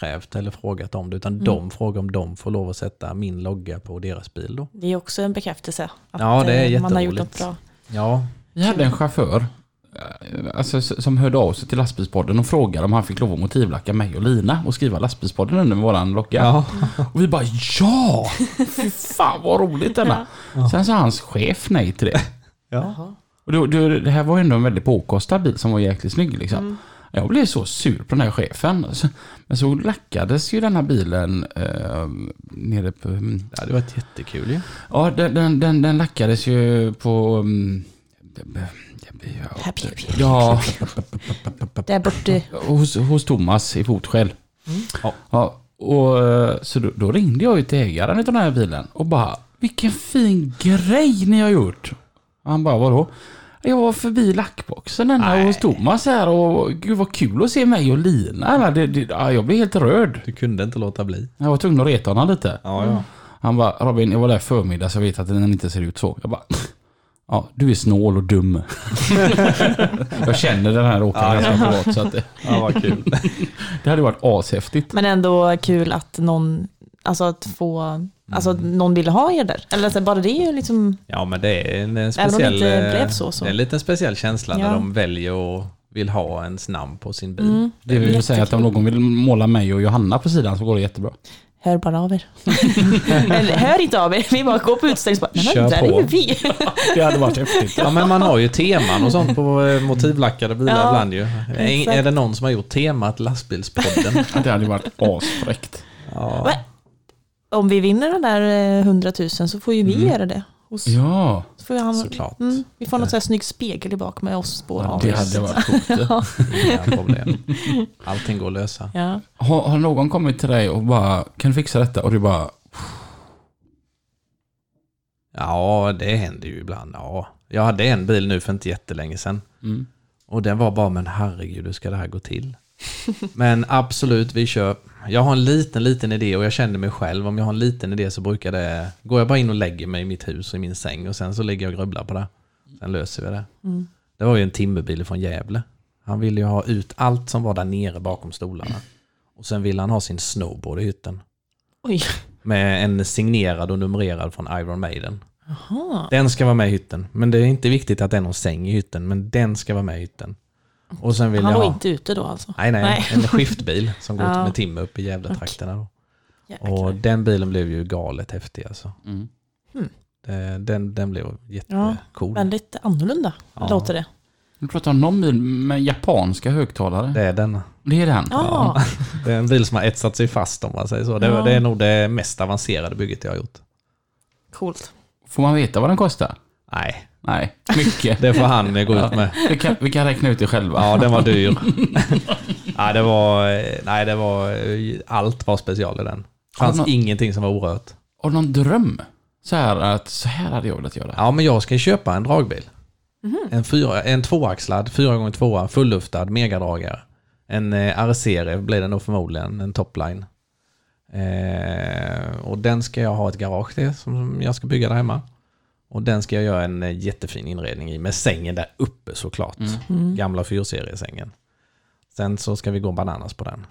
krävt eller frågat om det. Utan
Mm.
de frågar om de får lov att sätta min logga på deras bil då.
Det är också en bekräftelse att
Ja, det är
eh, man har gjort något
jätteroligt.
bra.
Ja,
Vi hade en chaufför eh, alltså, s- som hörde av sig till lastbilspodden och frågade om han fick lov att motivlacka mig och Lina och skriva lastbilspodden under våran logga.
Ja.
Och vi bara ja! Fy fan vad roligt denna. Sen sa hans chef nej till det.
Jaha.
Och då, då, det här var ju ändå en väldigt påkostad bil som var jäkligt snygg liksom. Jag blev så sur på den här chefen. Så- Men så lackades ju den här bilen eh, nere på... mm,
det var ett jättekul ju.
Ja, den, den, den, den lackades ju på... mm,
Här, pju, pju.
Ja,
Där borta.
hos, hos Thomas i Fotskäll.
Ja.
Ja, och, eh, så då, då ringde jag ju till ägaren av den här bilen och bara Vilken fin grej ni har gjort! Och han bara vadå? Jag var förbi lackboxen den här hos Thomas här och gud vad kul att se mig och Lina. här. Det, det, ja, jag blev helt röd.
Du kunde inte låta bli. Mm.
Jag var tvungen att reta honom lite.
Ja, ja.
Han bara Robin jag var där förmiddag så jag vet att den inte ser ut så. Jag bara Ja, du är snål och dum. jag känner den här åkaren ganska privat så att det,
ja vad kul.
det hade varit ashäftigt.
Men ändå kul att någon, alltså att få, alltså att
Mm.
någon ville ha er där. Eller alltså, bara det är ju liksom,
Ja, men det är en
om
eh,
det
speciell...
inte
eh,
blev så, så.
Det är en liten speciell känsla
Ja. Mm.
när de väljer och vill ha ens namn på sin bil.
Det vill säga att om någon vill måla mig och Johanna på sidan så går det jättebra.
hör bara av er. Eller hör inte av er, vi bara går på utställning och bara, nej
Kör
men där är
på."
ju vi.
Det hade varit häftigt.
Ja, men man har ju teman och sånt på eh, motivlackade bilar
Ja,
ibland ju. Är,
exakt.
är det någon som har gjort temat lastbilspodden?
Det hade varit asfräckt.
Ja.
Va? Om vi vinner den där eh, 100 000 så får ju
Mm.
vi göra det. Hos,
Ja,
så får ju han,
Såklart. Eh.
Mm, vi får någon sån här snygg spegel i bak med oss på av
det
oss.
hade varit coolt.
Inga problem. Allting går att lösa.
Ja.
Har, har någon kommit till dig och bara, kan du fixa detta? Och du bara,
Ja, det händer ju ibland. Ja. Jag hade en bil nu för inte jättelänge sedan.
Mm.
Och den var bara, men herregud, hur ska det här gå till? men absolut, vi kör. Jag har en liten, liten idé och jag känner mig själv. Om jag har en liten idé så brukar det... Går jag bara in och lägger mig i mitt hus och i min säng och sen så ligger jag och grubblar på det. Sen löser vi det. Det var ju en timmerbil från Gävle. Han ville ju ha ut allt som var där nere bakom stolarna. Och sen ville han ha sin snowboard i hytten.
Oj.
Med en signerad och numrerad från Iron Maiden.
Jaha.
Den ska vara med i hytten. Men det är inte viktigt att det är någon säng i hytten, men den ska vara med i hytten. Och sen vill
Han
jag
var
ha...
inte ute då alltså?
Nej, nej,
Nej.
en skiftbil som går
Ja.
med timmer upp i Gävletrakterna. Då. Och
Jäklar.
den bilen blev ju galet häftig alltså.
Mm.
Eh, Den, den blev
Hmm. Ja,
jättecool.
Väldigt annorlunda
Ja.
låter det.
Du pratar om någon bil med japanska högtalare.
Det
Det,
är den.
är den?
Ja,
Det är en bil som har etsat sig fast om man säger så. Det,
Ja.
det är nog det mest avancerade bygget jag har gjort.
coolt.
Får man veta vad den kostar?
Nej,
Nej, mycket.
det får han eh, gå ut med.
vi, kan, vi kan räkna ut det själva.
Ja, den var dyr. ja, det var, eh, nej, det var, eh, allt var special i den. Det fanns
Har du nå-
ingenting som var orört.
Har du någon dröm? Så här att så här hade jag velat göra.
Ja, men jag ska ju köpa en dragbil. En, fyra, en tvåaxlad, 4x2, fulluftad, megadragare. En eh, RC blir det nog förmodligen, en topline. Eh, och den ska jag ha ett garage till som som jag ska bygga där hemma. Och den ska jag göra en eh, jättefin inredning i med sängen där uppe såklart. Gamla fyrseriesängen. Sen så ska vi gå bananas på den.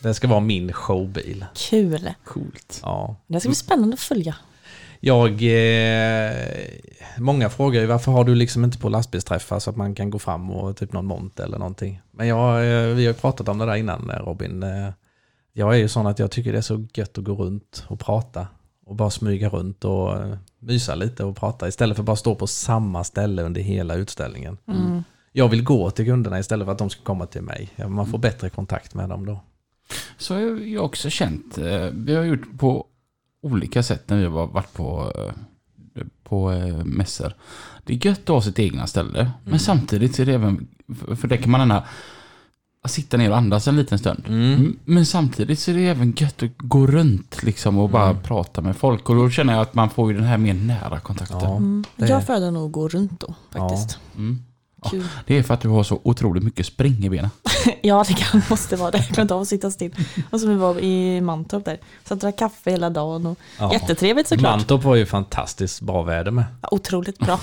det ska vara min showbil.
Kul.
Coolt.
Ja.
Det ska bli spännande att följa.
Jag, eh, många frågar ju varför har du liksom inte på lastbilsträffar så att man kan gå fram och typ någon mont eller någonting. Men jag, eh, vi har ju pratat om det där innan eh, Robin. Eh, Jag är ju sån att jag tycker det är så gött att gå runt och prata och bara smyga runt och eh, mysa lite och prata istället för bara stå på samma ställe under hela utställningen.
Mm.
Jag vill gå till kunderna istället för att de ska komma till mig. Ja, Man får bättre kontakt med dem då.
Så har jag också känt. eh, Vi har gjort på olika sätt när vi har varit på, eh, på eh, mässor. Det är gött att ha sitt egna ställe.
Mm.
Men samtidigt så är det även, för- för det kan man gärna sitta ner och andas en liten stund.
Mm.
M- Men samtidigt så är det även gött att gå runt liksom och
Mm.
bara prata med folk. Och då känner jag att man får ju den här mer nära kontakten.
Ja, det är-
Jag föredrar nog att gå runt då faktiskt.
Mm.
Kul.
Det är för att du har så otroligt mycket spring i benen.
Ja, det kan, måste vara det. Jag klarar inte av att sitta still. Och som vi var i Mantorp där. Så jag drack kaffe hela dagen. Och
Ja.
Jättetrevligt såklart.
Mantorp var ju fantastiskt bra väder med.
Ja, Otroligt bra.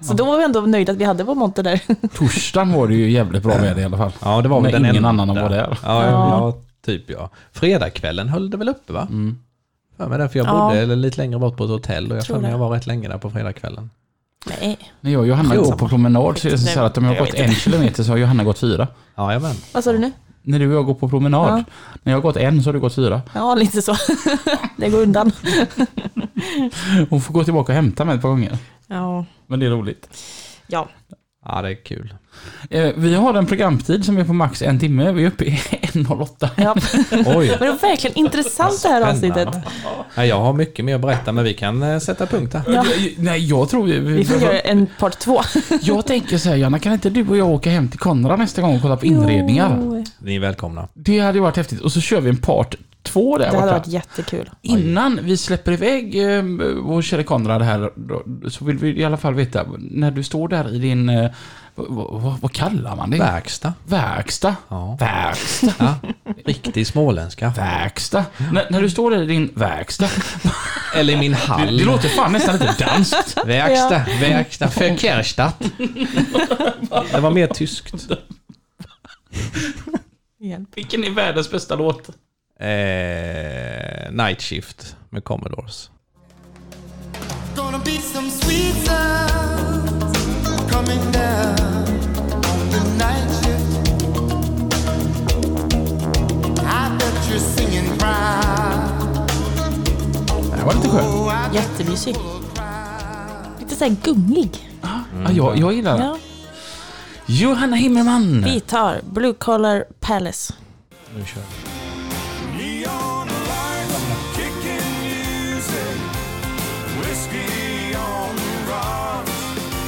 Så då var vi ändå nöjda att vi hade vår monter där.
Torsdagen var det ju jävligt bra väder i alla fall.
Ja, det var
När
väl den
ingen
enda.
annan var där.
Ja,
Ja.
ja, typ ja. Fredagskvällen höll det väl uppe va?
Mm.
Ja, men därför jag
Ja.
bodde eller lite längre bort på ett hotell och jag
Tror
tror
det.
jag var rätt länge där på fredagskvällen.
Nej.
När jag och Johanna
Jo.
går på promenad så är det så här att om jag har gått en kilometer så har Johanna gått fyra.
Jajamän.
Vad sa du nu?
När du och jag går på promenad, när jag har gått en så har du gått fyra.
Ja, lite så. Det går undan.
Hon får gå tillbaka och hämta mig ett par gånger.
Ja.
Men det är roligt.
ja.
Ja, det är kul.
Eh, vi har en programtid som är på max en timme. Vi är uppe i 1.08.
ja.
Oj,
Men det var verkligen intressant det här
Spännande.
avsnittet.
ja, jag har mycket mer att berätta men vi kan eh, sätta punkt där.
Ja.
Nej, jag tror vi...
Vi får göra en part två.
Jag tänker så här, Johanna, kan inte du och jag åka hem till Konrad nästa gång och kolla på inredningar?
Jo.
Ni är välkomna.
Det hade ju varit häftigt. Och så kör vi en part två där
Det hade
borta.
varit jättekul.
Innan vi släpper iväg eh, vår kära Konrad här, då, så vill vi i alla fall veta, när du står där i din, eh, vad, vad, vad kallar man det?
Verkstad.
Verkstad.
Ja.
Verkstad.
Ja. Riktig småländska.
Verkstad. När- när du står där i din verkstad.
Eller i min
Det,
hall.
det låter fan nästan lite danskt.
Verkstad, verkstad, Verkehrsstadt. Det var mer tyskt.
Hjälp.
Vilken är världens bästa låt?
Eh, night Shift med Commodores.
Gonna be some sweet sounds coming down on the night shift. I bet you're singing proud.
Det här var lite skön.
Oh, I bet
Jättemysig.
you'll cry.
Lite såhär gungig.
Ja, jag, jag gillar den.
Ja.
Johanna Himmelman.
Vi tar Blue Collar Palace.
Nu kör vi.
Neon lights, kicking music, whiskey on the rocks.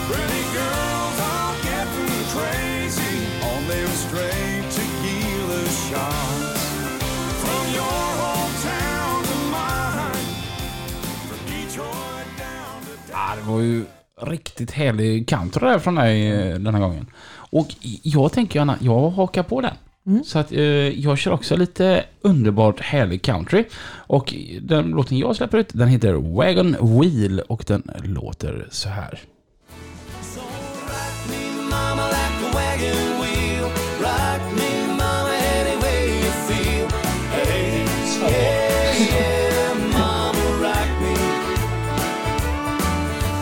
Pretty girls are getting crazy on their straight tequila shots. From your hometown to mine, from Detroit down to
Ah, var ju riktigt härlig country där från dig eh, den här gången. Och jag tänker gärna, jag hakar på den.
Mm.
Så att eh, jag kör också lite underbart härlig country. Och den låten jag släpper ut, den heter Wagon Wheel och den låter så här.
So rock me, mama, like a wagon wheel. Rock me, mama, any way you feel. Hey, yeah, yeah, mama, rock me.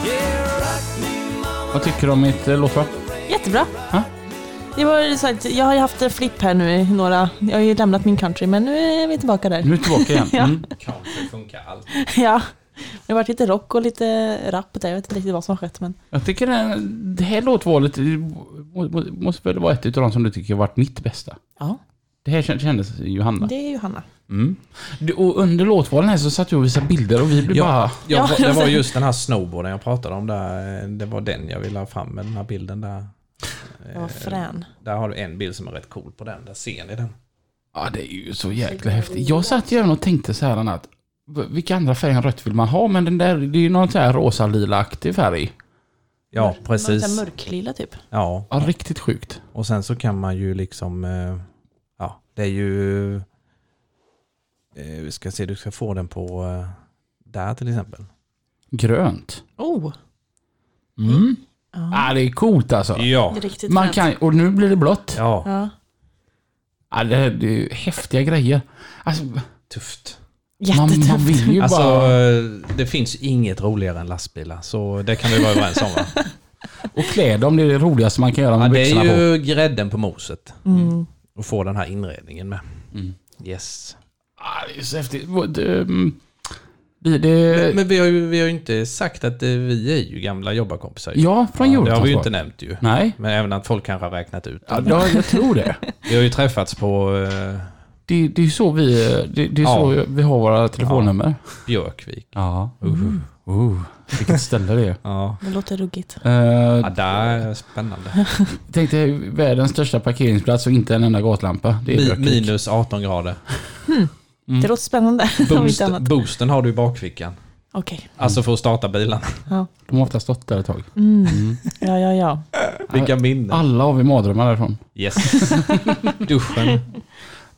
Yeah, rock me, mama.
Vad tycker du om mitt eh, låtval?
Jättebra.
Ja.
Det var ju så att jag har ju haft en flipp här nu i några, jag har ju lämnat min country men nu är vi tillbaka där.
Nu är vi tillbaka igen.
Ja.
Mm.
Country funkar allt.
Ja. Det har varit lite rock och lite rap och det, jag vet inte riktigt vad som har skett men
Jag tycker den, det här låtvalet det må- må- måste väl vara ett utav de som du tycker har varit mitt bästa.
ja,
Det här kän- kändes Johanna.
det är Johanna.
Mm. Du, Och under låtvalen här så satt jag och visade bilder och vi blev bara...
Ja, jag,
Ja,
det var just den här snowboarden jag pratade om där. eh, Det var den jag ville ha fram med den här bilden där.
Jag
Eh,
var frän.
Där har du en bild som är rätt cool på den. Där ser ni den.
Ja, det är ju så jäkla häftigt. Jag satt ju även och tänkte så här att v- vilka andra färger än rött vill man ha? Men den där, det är ju någon så här rosa-lila-aktig färg.
Ja,
Någon sån
precis.
här Mörklila typ.
Ja,
Ja, riktigt sjukt.
och sen så kan man ju liksom... eh, Ja, det är ju... eh, Vi ska se, du ska få den på... eh, Där till exempel.
Grönt.
Oh,
Mm. Ja, det är coolt alltså.
Ja.
riktigt
Man
fränt.
kan, och nu blir det blått.
Ja,
Ja.
Ja, det, här- det är ju häftiga grejer. Alltså,
tufft.
man,
Jättetufft.
man vill ju
Alltså,
bara...
eh, det finns inget roligare än lastbilar, så det kan vi vara överens om va?
Och klä dem, det är det roligaste man kan göra
Ja,
med
det
byxorna
är
på.
ju grädden på moset. Mm.
Mm.
Och få den här inredningen med. Yes.
Ja, det är så häftigt. Vad, ehm, Det, det,
Men vi har ju, vi har ju inte sagt att eh, vi är ju gamla jobbarkompisar. ju.
ja, från
det har vi ju
Eurotransport.
inte nämnt ju.
Nej,
Men även att folk kanske har räknat ut.
ja, då, jag tror det.
Vi har ju träffats på eh,
Det, det är ju så vi, det, det är
Ja.
så vi har våra telefonnummer.
Björkvik.
Ja. Uh, vilket ställe det är.
Ja.
Det låter ruggigt.
ja,
Uh,
där är spännande.
tänk dig världens största parkeringsplats och inte en enda gatlampa. Det är
Mi-
rökigt.
minus 18 grader.
Mm.
Det låter spännande. om
Boost,
inte annat.
boosten har du i bakfickan.
Okej.
Alltså för att starta bilen.
De har ofta stått där ett tag.
Mm.
Mm.
Ja, ja, ja.
Vilka minnen.
Alla har vi mardrömmar därifrån.
Yes. Duschen.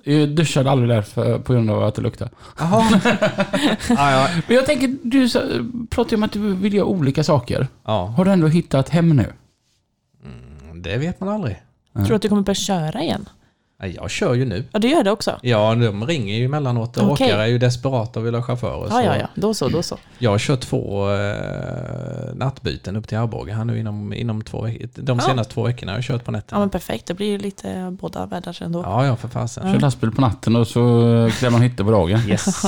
Jag duschade aldrig där för, på grund av att det luktade.
Jaha. ja, ja.
Men jag tänker, du sa- pratade ju om att du vill göra olika saker.
ja,
Har du ändå hittat hem nu?
det vet man aldrig.
Mm.
Tror du att du kommer börja köra igen?
Nej, Jag kör ju nu.
Ja, du gör det också?
Ja, de ringer ju emellanåt och
Okej.
åkare är ju desperata och vill ha chaufförer.
Ja,
så
ja, ja. Då så, då så.
Jag kör två eh, nattbyten upp till Arboga här nu inom, inom två veck- De
Ja.
senaste två veckorna har jag kört på
Ja,
nätterna.
men perfekt. Det blir ju lite båda världar ändå.
Ja, ja, för fasen.
Kör lastbil på natten och så klär man hytter på dagen.
Yes.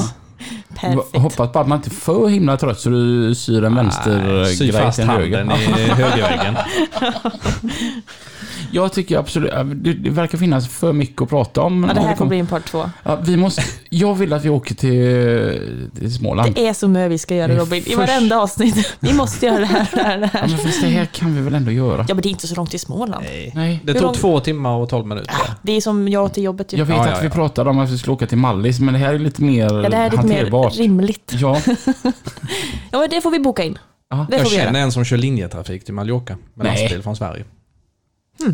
Perfekt.
Hoppas bara att man inte är för himla trött så du syr en vänster
Nej, Sy
eh, grej
fast
till en höger.
handen i högerväggen.
Jag tycker absolut, det, det verkar finnas för mycket att prata om.
Ja, det
när
här
kommer-
kommer bli en part två.
Ja, vi måste, jag vill att vi åker till, till Småland.
Det är så mycket vi ska
Det
göra
är
Robin, i
först-
varenda avsnitt. Vi måste göra det här och det här. och Det
Ja,
här.
men fast det här kan vi väl ändå göra?
Ja, men det är inte så långt till Småland.
Nej.
Det
Hur lång-
tog två timmar och tolv minuter.
Det är som jag till jobbet typ. ju.
Jag vet
Ja,
att
ja,
vi
ja.
pratade om att vi skulle åka till Mallis, men det här är lite mer
Ja, det här är lite mer
hanterbart.
rimligt.
ja,
Ja, men det får vi boka in.
Ja,
Det
Jag
får vi göra.
känner en som kör linjetrafik till Mallorca med
Nej.
lastbil från Sverige.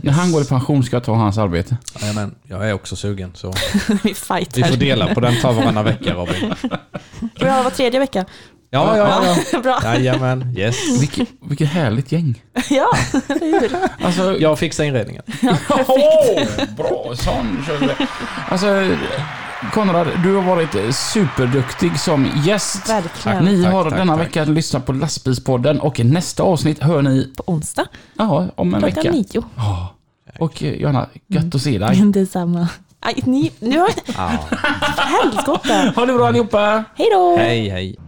när han går i pension ska jag ta hans arbete.
Jajamän, jag är också sugen så
Vi fightar.
vi får dela på den, ta varannan vecka Robin.
Får jag ha var tredje vecka?
Ja, ja,
Bra.
ja. Jajamän, yes.
Vilket, vilket härligt gäng.
Ja, eller hur?
Alltså,
Jag fixar inredningen.
Åh, bra! Sån kör vi. Alltså, Konrad, du har varit superduktig som gäst.
Verkligen.
Ni
Tack,
har
tack,
denna
tack.
vecka lyssnat på Lastbilspodden och i nästa avsnitt hör ni
På onsdag
ja, om en
klockan
vecka.
nio. Mm.
Ja. Och eh, Johanna, gött att se dig.
Detsamma. Aj, ni, nu har jag...
Ja.
Helskotta!
Ha det bra allihopa!
Hej då!
Hej, hej.